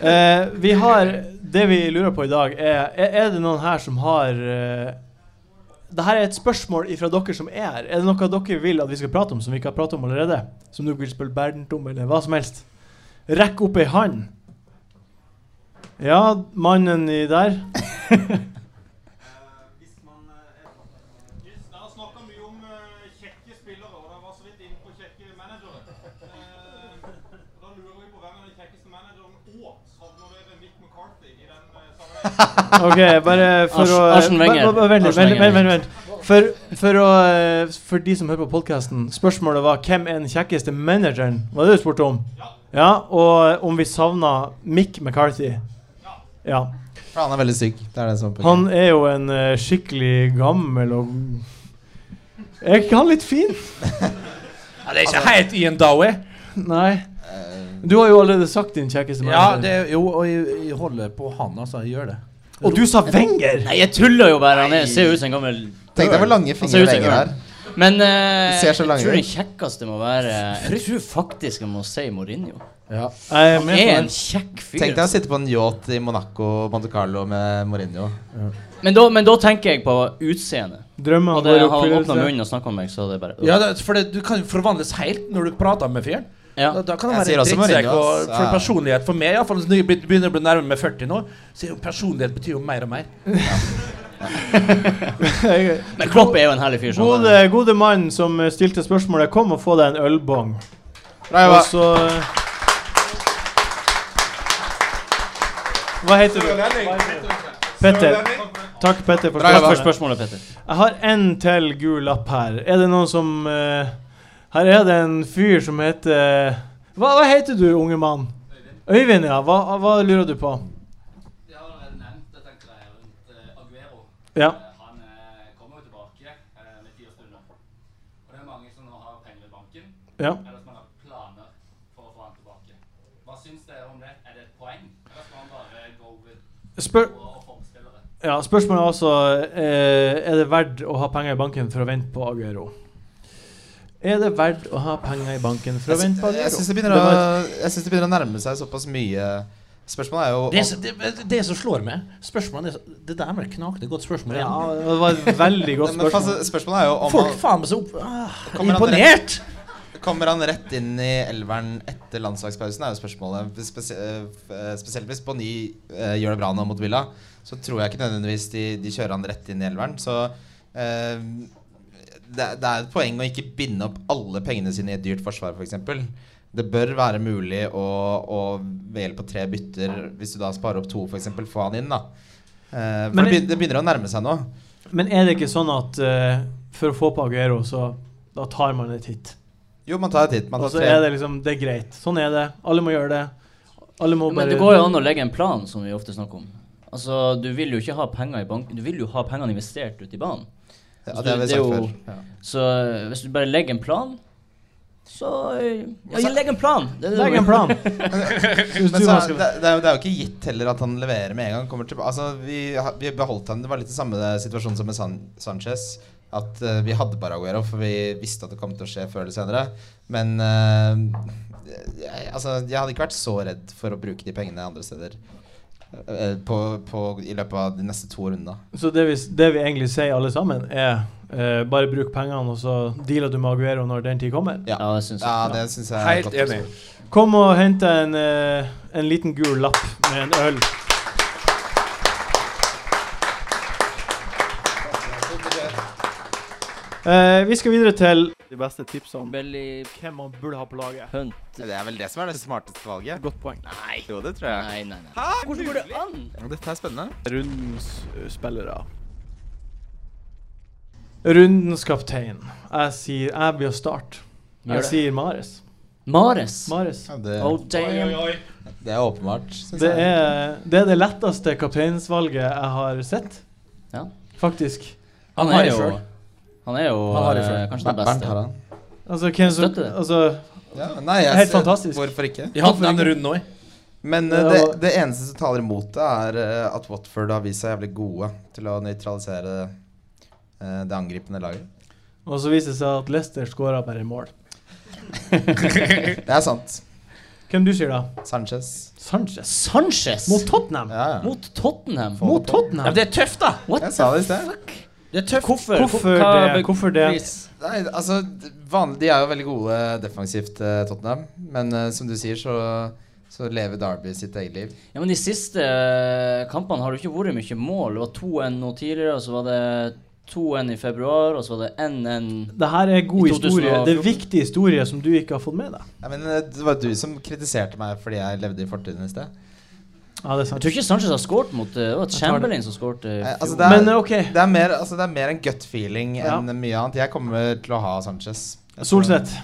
Eh, vi har Det vi lurer på i dag, er Er, er det noen her som har uh, det her er et spørsmål ifra dere som er her. Er det noe dere vil at vi skal prate om som vi ikke har pratet om allerede? Som du vil spørre Bernt om, eller hva som helst? Rekk opp ei hand. Ja, mannen i der. Hvis man eh, Det er snakka mye om eh, kjekke spillere, og det var så vidt inne på kjekke managere. Eh, og Da lurer vi på hvem er den kjekkeste manageren, og savner dere Mick McCarthy i den eh, sammenhengen? Ok, bare for Ars- å Arsen Wenger. Ba- ba- ba- Vent, litt, Arsen vent, Wenger. vent, vent, vent. For, for, å, eh, for de som hører på podkasten, spørsmålet var hvem er den kjekkeste manageren? Var det du spurte om? Ja. og eh, om vi savna Mick McCarthy. Ja. For han er veldig stygg. Det er det som er poenget. Han er jo en eh, skikkelig gammel og Er ikke han litt fin? Ja, det er Altså- ikke helt Ian Dowie. Nei. Eh, Du har jo allerede sagt din kjekkeste Ja, manager. det, er- jo, og jeg, jeg holder på han, altså. Jeg gjør det. og du sa Wenger! Nei, jeg tuller jo bare. Han er, ser jo ut som en gammel Tenk deg hvor lange Altså, Han ser fingre ut som en lenger gammel- er. Men eh, ser jeg så lang tror ut. den kjekkeste må være Jeg tror faktisk jeg må si Mourinho. Jeg er Han med er på en det. kjekk fyr. Tenk deg å sitte på en yacht i Monaco Monte Carlo med Mourinho. Men da, men da tenker jeg på utseendet. Drømmer Hadde går i han oppfyllelse. åpna munnen og snakka om meg, så hadde det bare Ja, det, for det, Du kan forvandles helt når du prater med fyren. Ja. Da, da kan han Jeg sier være en også drittsekk. Mourinho, ass. Og for Ja. personlighet for meg, iallfall når jeg begynner å bli nærmere med 40 nå, så er jo personlighet betyr jo mer og mer. Men Klopp er jo en herlig fyr. Sånn. Gode, gode mann som eh, stilte spørsmålet, kom og få deg en ølbong. Bra Og jobba. så eh, Hva heter du? Petter. Takk, Petter, for Bra jobba. Takk for spørsmålet. spørsmålet, Petter. Jeg har en til gul lapp her. Er det noen som eh, Her er det en fyr som heter Hva, hva heter du, unge mann? Øyvind, ja. Hva, hva lurer du på? Det har allerede nevnt dette greiet rundt eh, Aguero. Ja. Eh, Han eh, kommer jo tilbake eh, med fire stunder. Og det er mange som nå har penger i banken, ja. eller som har planer for å få han tilbake. Hva syns dere om det? Er det et poeng? Eller skal han bare go with Spør, gode og formspillere? ja spørsmålet er altså eh, Er det verdt å ha penger i banken for å vente på Aguero? Er det verdt å ha penger i banken for å Jeg vente på sy- Aguero? Jeg syns det, begynner var et- å- jeg synes det begynner å nærme seg såpass mye. Spørsmålet er jo Det, som- det, det som slår meg Spørsmålet er så- Det der var et knakende godt spørsmål. Ja, igjen. det var et veldig Men- godt men spørsmål. fast- Spørsmålet er jo om Folk han faen meg så opp... Ah, Kommer han imponert! kommer han rett inn i elveren etter landslagspausen, er jo spørsmålet. Spesi eh, f- eh, spesielt hvis Boni eh, gjør det bra nå mot Villa, så tror jeg ikke nødvendigvis de, de kjører han rett inn i elveren. Så eh, det, det er et poeng å ikke binde opp alle pengene sine i et dyrt forsvar, f.eks. Det bør være mulig å, å ved hjelp av tre bytter, hvis du da sparer opp to, f.eks., få han inn, da. Eh, for Men det, det- begynner, det begynner å nærme seg nå. Men er det ikke sånn at eh, for å få på Aguero, så da tar man en titt? Jo, man tar et hit. Man Og tar så tre. er det liksom Det er greit. Sånn er det. Alle må gjøre det. Alle må Men bare det går jo an å legge en plan, som vi ofte snakker om. Altså, du vil jo ikke ha penger i banken, du vil jo ha pengene investert ute i banen. Ja, det har det vi er sagt jo- før. Ja. Så eh, hvis du bare legger en plan, så eh, Men Altså- Ja, så- legg en plan! Det er det du Legg må en plan. Synes Men du så, man er- skal det, det, er jo, det er jo ikke gitt heller at han leverer med en gang. han Kommer til, altså, vi, ha- vi beholdt han Det var litt den samme situasjonen som med San, Sanchez. At eh, vi hadde bare Aguero, for vi visste at det kom til å skje før eller senere. Men eh, jeg, altså, jeg hadde ikke vært så redd for å bruke de pengene andre steder eh, på, på, i løpet av de neste to rundene. Så det vi, s- det vi egentlig sier alle sammen, er eh, bare bruk pengene, og så dealer du med Aguero når den tid kommer. Ja. Ja, det syns jeg. Ja, det syns jeg er Helt godt. enig. Kom og hent en, eh, en liten gul lapp med en øl. Eh, vi skal videre til de beste tipsene om Belly hvem man burde ha på laget. Hunt Det er vel det som er det smarteste valget. Godt poeng. Nei. Jo, det tror jeg. Nei, nei, nei. Hvordan går det an? Dette er spennende. Rundens eh, spillere. Rundens kaptein. Jeg sier Jeg blir å starte. Gjør Jeg det. sier Mares. Mares. Mares. Ja, det, Oh, damn. det er åpenbart. synes Det jeg. er, det er det letteste kapteinsvalget jeg har sett. Ja. Faktisk. Han har er det jo selv. Han er jo Han har det eh, selv. kanskje den Ber- Bernt har beste. han. Altså, hvem som Støtter det. Altså, Ja, nei, jeg, Helt fantastisk. Hvorfor ikke? Jeg hadde den runden òg. Men eh, Ja, det, og- det eneste som taler imot det, er eh, at Watford har vist seg jævlig gode til å nøytralisere eh, det angripende laget. Og så viser det seg at Leicester skåra bare mål. Det er sant. Hvem du sier da? Sanchez. Sanchez. Sanchez Mot Tottenham! Ja, ja. mot Tottenham. Mot Tottenham! det er tøft, da! What Jeg sa det i sted. Det er tøft. Hvorfor? Hvorfor Hva- det? Hvorfor det? Please. Nei, altså, d- vanlig, de er jo veldig gode defensivt, eh, Tottenham. Men eh, som du sier, så, så lever Derby sitt eget liv. Ja, men De siste eh, kampene har det ikke vært mye mål. Det var 2-1 nå tidligere, og så var det 2-1 i februar, og så var det 1-1 Det her er god I historie. Det er 2014. viktig historie som du ikke har fått med deg. Ja, men eh, det var du som kritiserte meg fordi jeg levde i fortiden i sted. Ja, det er Jeg sant. tror ikke Sanchez har skåret mot eh, Det var tar det. Chamberlain som skåret. eh, Eh, altså, fjor. det er, Men eh, OK. det, er mer, altså, det er mer en gut feeling Ja. enn mye annet. Jeg kommer til å ha Sanchez. Jeg tror- Solseth.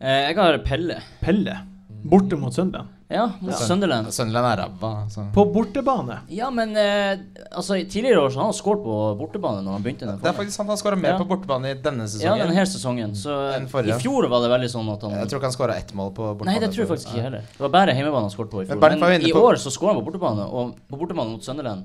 Eh, Jeg har Pelle. Pelle. Borte mot Sunderland. Ja, mot Sunderland. Sunderland er ræva. altså. så- På bortebane. Ja, men eh, altså, i tidligere år så har han skåret på bortebane når han begynte. Den Det er faktisk sant, han skåra mer Ja. på bortebane i denne ja, sesongen. den her sesongen. Så eh, Den i forrige. fjor var det veldig sånn at han Jeg tror ikke han skåra ett mål på Nei, bortebane. det tror jeg faktisk ikke heller. Det var bare hjemmebane han skåret på i fjor. Men Bernt Men, var jo inne i på- år så skårer han på bortebane, og på bortebane mot Sunderland.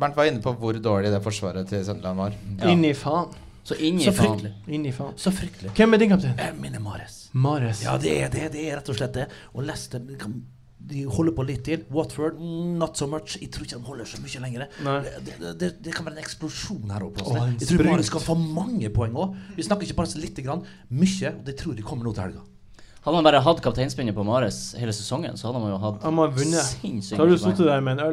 Bernt var inne på hvor dårlig det forsvaret til Sunderland var. Ja. Inn i faen. Så inn i Så faen. fryktelig. Inn i faen. Så fryktelig. Hvem er din kaptein? Jeg minner Mares. Mares. Ja, det er det. Det er rett og slett det. Og Leicester de kan- de holder på litt til. Watford, mm, not so much. Jeg tror ikke de holder så mye lenger. Nei. Det, det, det, det kan være en eksplosjon her oppe. Å, en Altså. Jeg tror sprut. Marius kan få mange poeng òg. Vi snakker ikke bare så lite grann. Mye. Og det tror jeg kommer nå til helga. Hadde han bare hatt kapteinspinnet på Mares hele sesongen, så hadde han jo hatt Han må ha vunnet. Så sinnssykt har du mye sittet poeng. der med en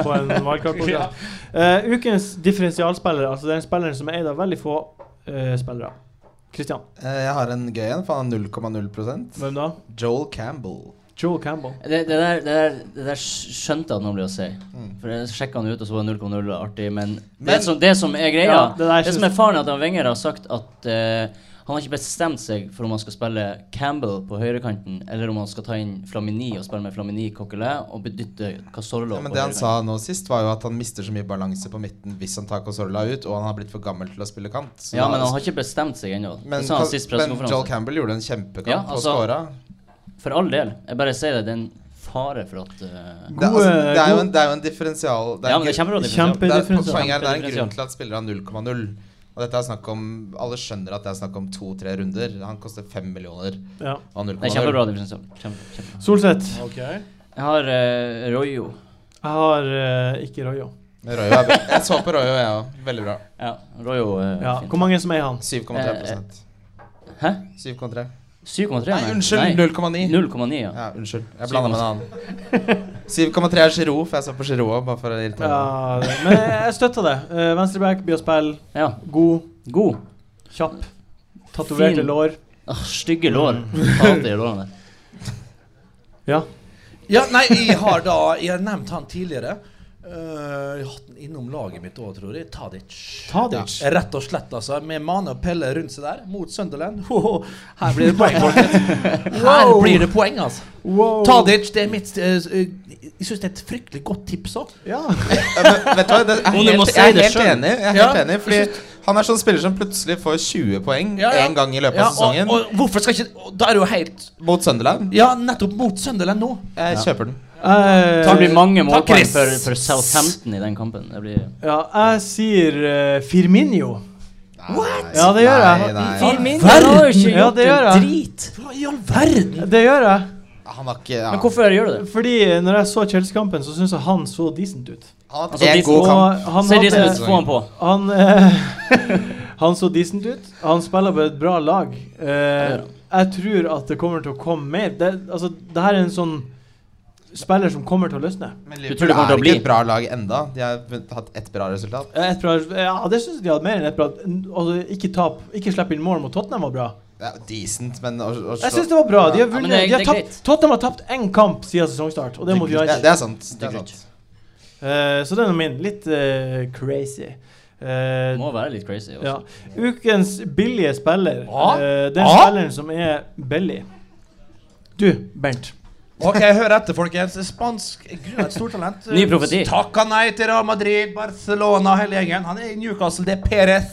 øl på en wildcard-program. Eh, ukens differensialspiller, altså den spilleren som er eid av veldig få eh, spillere. Christian, Eh, Jeg har en gøy en, for han har 0,0 hvem da? Joel Campbell. Joel Campbell. Det, det, der, det, der, det der skjønte jeg at noen ble å si. Mm. For jeg sjekka han ut, og så var det 0,0 og artig. Men, det, Men- som, det som er greia, Ja, det det, der synes- som er faren, er at han Wenger har sagt at eh, han har ikke bestemt seg for om han skal spille Campbell på høyrekanten, eller om han skal ta inn Flamini og spille med Flamini Coquelin og bedytte Casorlo. Ja, men på det han høyrekanten. sa nå sist, var jo at han mister så mye balanse på midten hvis han tar Cozorla ut, og han har blitt for gammel til å spille kant. Så ja, da- men han har ikke bestemt seg ennå. Det men, sa han Ka- sist men Joel pressekonferanse. Campbell gjorde en kjempekamp Ja, og altså- scora. For all del. Jeg bare sier det. Det er en fare for at eh, Det, er- altså, det, er jo en- det er jo en differensial det er Ja, en men det er grunn- Kjempe- kjempebra. differensial. det er, differensial. Poenget er det er en Differensial. grunn til at spiller har 0,0. Og dette er snakk om Alle skjønner at det er snakk om to-tre runder. Han koster fem millioner Ja. og har Det er 0,0. kjempebra. differensial. Kjempe, kjempe. Solseth. Jeg har eh, Royo. Jeg har eh, ikke Royo. Royo er bra. Jeg så på Royo, jeg òg. Veldig bra. Ja, Royo er Ja. fint. Hvor mange som eier han? Eh, 7,3 Hæ? 7,3 7,3? Nei, unnskyld. 0,9. 0,9, ja. Ja, unnskyld. Jeg blanda med en annen. 7,3 er Giroud, for jeg så på Giroud òg, bare for å irritere. meg. Ja, det- men jeg støtter det. Eh, Venstreback, blir å spille. ja. God, God. kjapp. Tatoverte Fin. lår. Ah, stygge lår. Hater de lårene der. Ja. Ja, nei, jeg har da Jeg har nevnt han tidligere. Eh, jeg har hatt han innom laget mitt òg, tror jeg. Tadic. Tadic. Ja, Rett og slett, altså. Med Mane og Pelle rundt seg der, mot Sunderland. Ho, ho. her blir det poeng, folkens. Her Wow. blir det poeng, altså. Wow. Tadic, det er mitt eh, s- eh, Jeg syns det er et fryktelig godt tips òg. Ja. Ja, men Vet du hva, det er Om du må helt, si jeg er det helt selv. enig. Jeg er Ja. helt enig Fordi han er sånn spiller som plutselig får 20 poeng Ja, ja. én gang i løpet Ja, av og, sesongen og hvorfor skal ikke og Da er det jo helt mot Sunderland. Ja, nettopp mot Sunderland nå. Jeg kjøper den. Eh, Det blir mange målpoeng Chris. for, for Southampton i den kampen. Det blir ja, jeg sier eh, Firminio. What? Ja, det gjør jeg. Nei, nei. har jo ikke Ja, det gjør gjort jeg. en drit! Hva i all verden? Det gjør jeg. Han har ikke ja. Men hvorfor gjør du det? Fordi når jeg så Chelsea-kampen, så syns jeg han så decent ut. Han har hatt Altså, én de god Og kamp. han, Se de som hadde, vil få han på. han, eh, han så decent ut. Han spiller på et bra lag. Eh, Ja. jeg tror at det kommer til å komme mer. Det, altså, det her er en sånn spiller som kommer til å løsne. Men tror Liverpool det kommer til er å ikke bli? et bra lag enda De har vunnet- hatt ett bra resultat. Eh, Et bra, ja, det syns jeg de hadde mer enn et bra. N- Altså, ikke tap, ikke slippe inn mål mot Tottenham var bra. Det er jo decent, men å, å slå Jeg syns det var bra. De har men vunnet, det er- de har det tapt, er greit. Tottenham har tapt én kamp siden sesongstart, og det må vi ha det, det er sant. Det er sant. Eh, så den er min. Litt eh, crazy. Eh, Må være litt crazy. Også. ja. Ukens billige spiller. Ja. Eh, den Ja. spilleren som er billig. Du, Bernt. Ok, hør etter, folkens. Spansk Gud, et stort talent. Ny profeti. Takka nei til Real Madrid, Barcelona, hele gjengen. Han er i Newcastle. Det er Perez.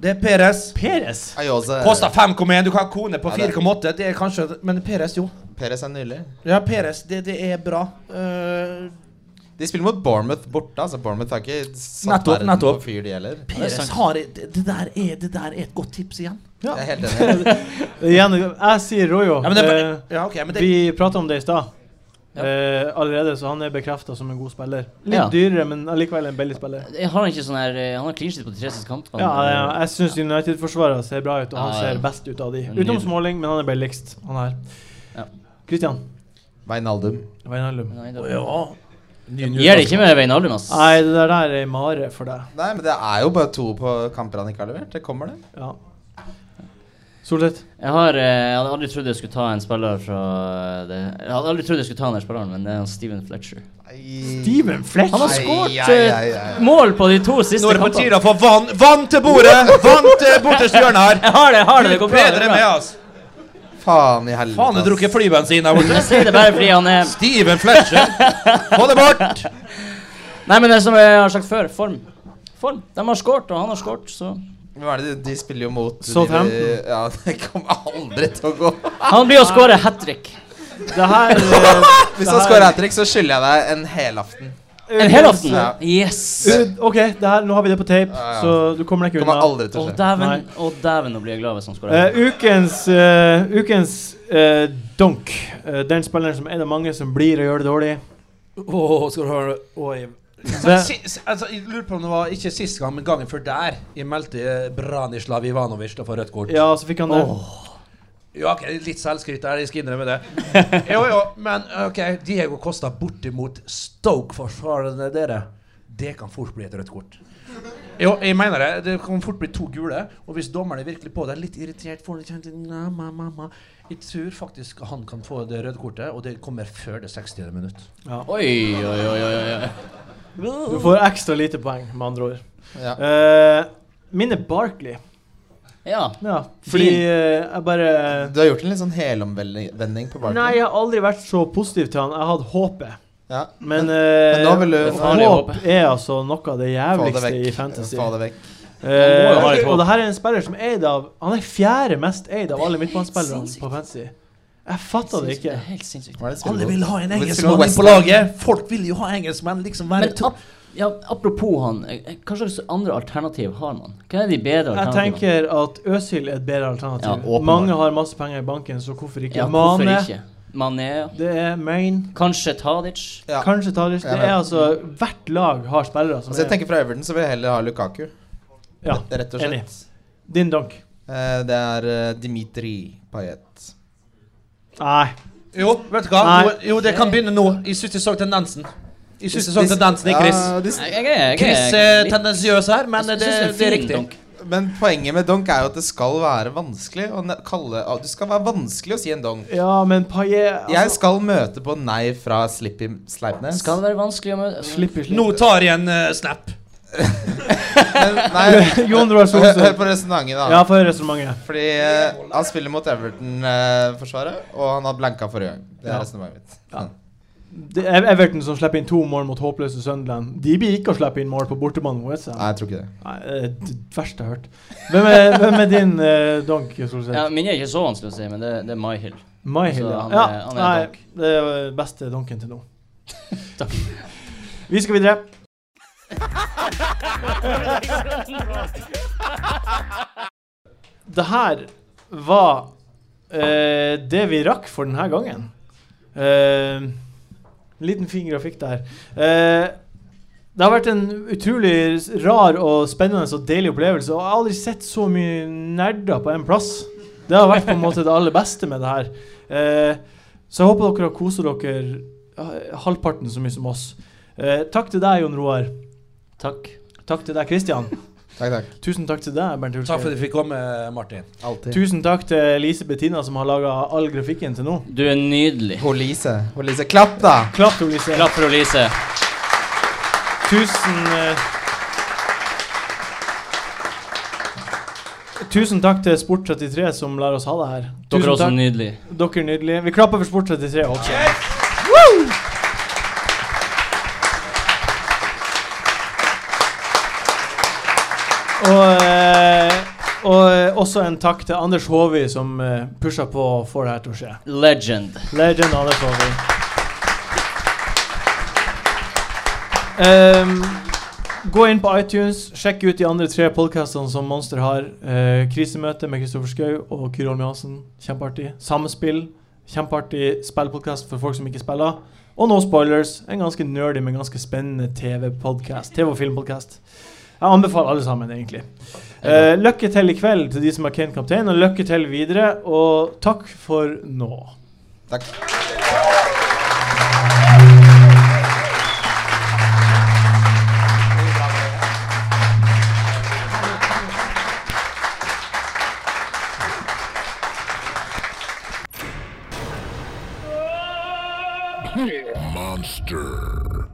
Det er Perez. Peres. Ayose Kosta 5,1. Du kan ha kone på Ja, det- 4,8. Det er kanskje Men Perez, jo. Perez er nydelig. Ja, Perez, det, det er bra. Eh, De spiller mot Bournemouth borte. Altså Bournemouth har ikke satt Nettopp, verden nettopp. på fyr, de heller. Perez har det, det, der er, det der er et godt tips igjen. Ja. Jeg er helt enig. Igjen, jeg sier Royo. Ja, men det, Eh, ja, ok, men det vi prata om det i stad. Ja. Eh, allerede, så han er bekrefta som en god spiller. Litt Ja. dyrere, men allikevel en billig spiller. Jeg har ikke sånn her eh, Han har clean sheet på de tre siste kampene. Ja, jeg- jeg syns United-forsvaret ser bra ut, og han Ja, ja. ser best ut av de. Nydelig. Utenom Småling, men han er billigst, han her. Ja. Christian Wijnaldum. Veinaldum. Nei, da- Ja. Gir det ikke med Veinaldum, ass. Nei, det der er ei mare for deg. Nei, men det er jo bare to på kamper han ikke har levert. Det kommer, det. Ja. Solseth. Jeg har eh, Jeg hadde aldri trodd jeg skulle ta en spiller fra eh, det Jeg hadde aldri trodd jeg skulle ta den her spilleren, men det er han Steven Fletcher. Steven Fletch. Han har Ai, skåret ai, ai, eh, ai. mål på de to siste Nå er det på kampene. tide å få vann, vann til bordet! Vann til borterste hjørne her. Jeg har det, jeg har det. Det går bra. det går Bedre med, bra. altså. Faen i helvete. Faen, jeg ass. drukket flybensin der borte. Jeg sier det bare fordi han er Steven Fletcher. Få det bort! Nei, men det som jeg har sagt før, form. Form. De har skåret, og han har skåret, så Hvem er det de, de spiller jo mot? de- Southampton. de- Ja, det kommer aldri til å gå. Han blir å skåre hat trick. Det her eh, Hvis han scorer hat trick, så skylder jeg deg en helaften. En helaften. Ja. Yes. ut- OK, det her, nå har vi det på tape, ja. så du kommer deg ikke Kommer unna. aldri Å, til å skje. Nei. dæven. Å, dæven, nå blir jeg glad hvis han Eh, skårer. ukens eh, ukens eh, donk. Eh, den spilleren som er det mange som blir å gjøre det dårlig. Åh, skal du høre Oi. Det- Si- si- altså, jeg lurer på om det var ikke sist gang, men gangen før der. Jeg meldte eh, Branislav Ivanovic da for rødt kort. Ja, så fikk han det. Åh. Ja, ok, litt selvskryt der, jeg skal innrømme det. Jo, jo, men ok, Diego Costa bortimot Stoke-forsvarerne dere. Det kan fort bli et rødt kort. Jo, jeg mener det. Det kan fort bli to gule. Og hvis dommeren er virkelig på det, litt irritert får det, kjent, na, ma, ma, ma. Jeg tror faktisk han kan få det røde kortet, og det kommer før det 60. minutt. Oi, oi, oi, oi, oi. Du får ekstra lite poeng, med andre ord. Ja. Eh, min er Barkley. Ja. Ja, fordi eh, jeg bare Du har gjort en litt sånn helomvending på Nei, Barkley. jeg har aldri vært så positiv til han. Jeg hadde håpet. Ja. Men, eh, Men nå vil du- håp er altså noe av det Få det jævligste vekk. i fantasy. Få det vekk. Eh, jo ha litt håp. og det her er en spiller som er eid av Han er fjerde mest eid av alle midtbanespillerne på fantasy. Jeg fatter det Det ikke. er helt sinnssykt. Hva er det Alle vil ha en Hvorfor engelskmann spiller inn på West Ham? laget! Folk vil jo ha engelskmenn. liksom være Men ap ja, apropos han, eh, eh, hva slags andre alternativ har man? Hva er de bedre Jeg alternativene? tenker at Øsil er et bedre Ja, alternativ. åpenbart. Mange har masse penger i banken, så hvorfor ikke? Ja, hvorfor Mane, ikke? Mané, ja. det er Maine. Kanskje Tadic? Ja. Kanskje Tadic. Jeg Det vet. er altså Hvert lag har spillere som Altså, jeg er tenker Fra Everton så vil jeg heller ha Lukaku, Ja, rett og enig. slett. Din donk. Eh, det er eh, Dimitri Payet. Nei. Jo, vet du hva? Nei. Nå- Jo, det kan begynne nå. Jeg syns jeg så tendensen. Jeg syns jeg så Dis- tendensen i Chris. Ja, dis- Jeg, jeg, jeg, jeg, Chris eh, er eh, tendensiøs her, men Jeg det, synes det er fin riktig. dunk. Men poenget med donk er jo at det skal være vanskelig å ne- kalle ah, Du skal være vanskelig å si en donk. Ja, men Paillet Jeg altså, skal møte på nei fra Slippy Sleipnes. Skal det være vanskelig å møte Slipper Nå slipp. tar jeg en eh, snap. Men, nei, Jon Roar hør, hør Solseth. på resonnementet, da. Ja, for resonnementet. Fordi eh, han spiller mot Everton-forsvaret, og han har blanka forrige gang. Det er Ja. resonnementet mitt. Det er Everton som slipper inn to mål mot håpløse Sunderland. De blir ikke å slippe inn mål på bortebane mot Westham. Nei, jeg tror ikke det. Nei, det er det verste jeg har hørt. Hvem er, hvem er din eh, donk, Ja, Solseth? Min er ikke så vanskelig å si, men det, det er My Hill. Myhill, så ja. han er- ja. han er Nei, donk. det er eh, beste donken til nå. Vi skal videre. Det her var eh, det vi rakk for denne gangen. Eh, liten fin grafikk der. Eh, det har vært en utrolig s- rar og spennende og deilig opplevelse. Og jeg har aldri sett så mye nerder på en plass. Det har vært på en måte det aller beste med det her. Eh, så jeg håper dere har kosa dere eh, halvparten så mye som oss. Eh, takk til deg, Jon Roar. Takk. Takk til deg, Kristian. Takk, takk. Tusen takk til deg, Bernt Takk for at Hulsker. du fikk komme, eh, Martin. Alltid. Tusen takk til Elise Bettina, som har laga all grafikken til nå. Du er nydelig. Holise. Holise. Klapp, da! Klapp, Elise. Klapp for Elise. Tusen eh, Tusen takk til Sport33, som lar oss ha det her. Dere er Tusen også takk. nydelige. Dere er nydelige. Vi klapper for Sport33 også. Og, eh, og eh, også en takk til Anders Håvi, som eh, pusha på og får det her til å skje. Legend. Legend Anders Håvi. Ehm, gå inn på iTunes, sjekk ut de andre tre podkastene som Monster har. Eh, Krisemøte med Kristoffer Schou og Kyrre Holm Johansen. Kjempeartig. Samspill. Kjempeartig spillpodkast for folk som ikke spiller. Og No Spoilers, en ganske nerdy, men ganske spennende TV-podkast. TV- og filmpodkast. Jeg anbefaler alle sammen, egentlig. Eh, lykke til i kveld til de som er Kane kaptein, og lykke til videre. Og takk for nå. Takk. Monster.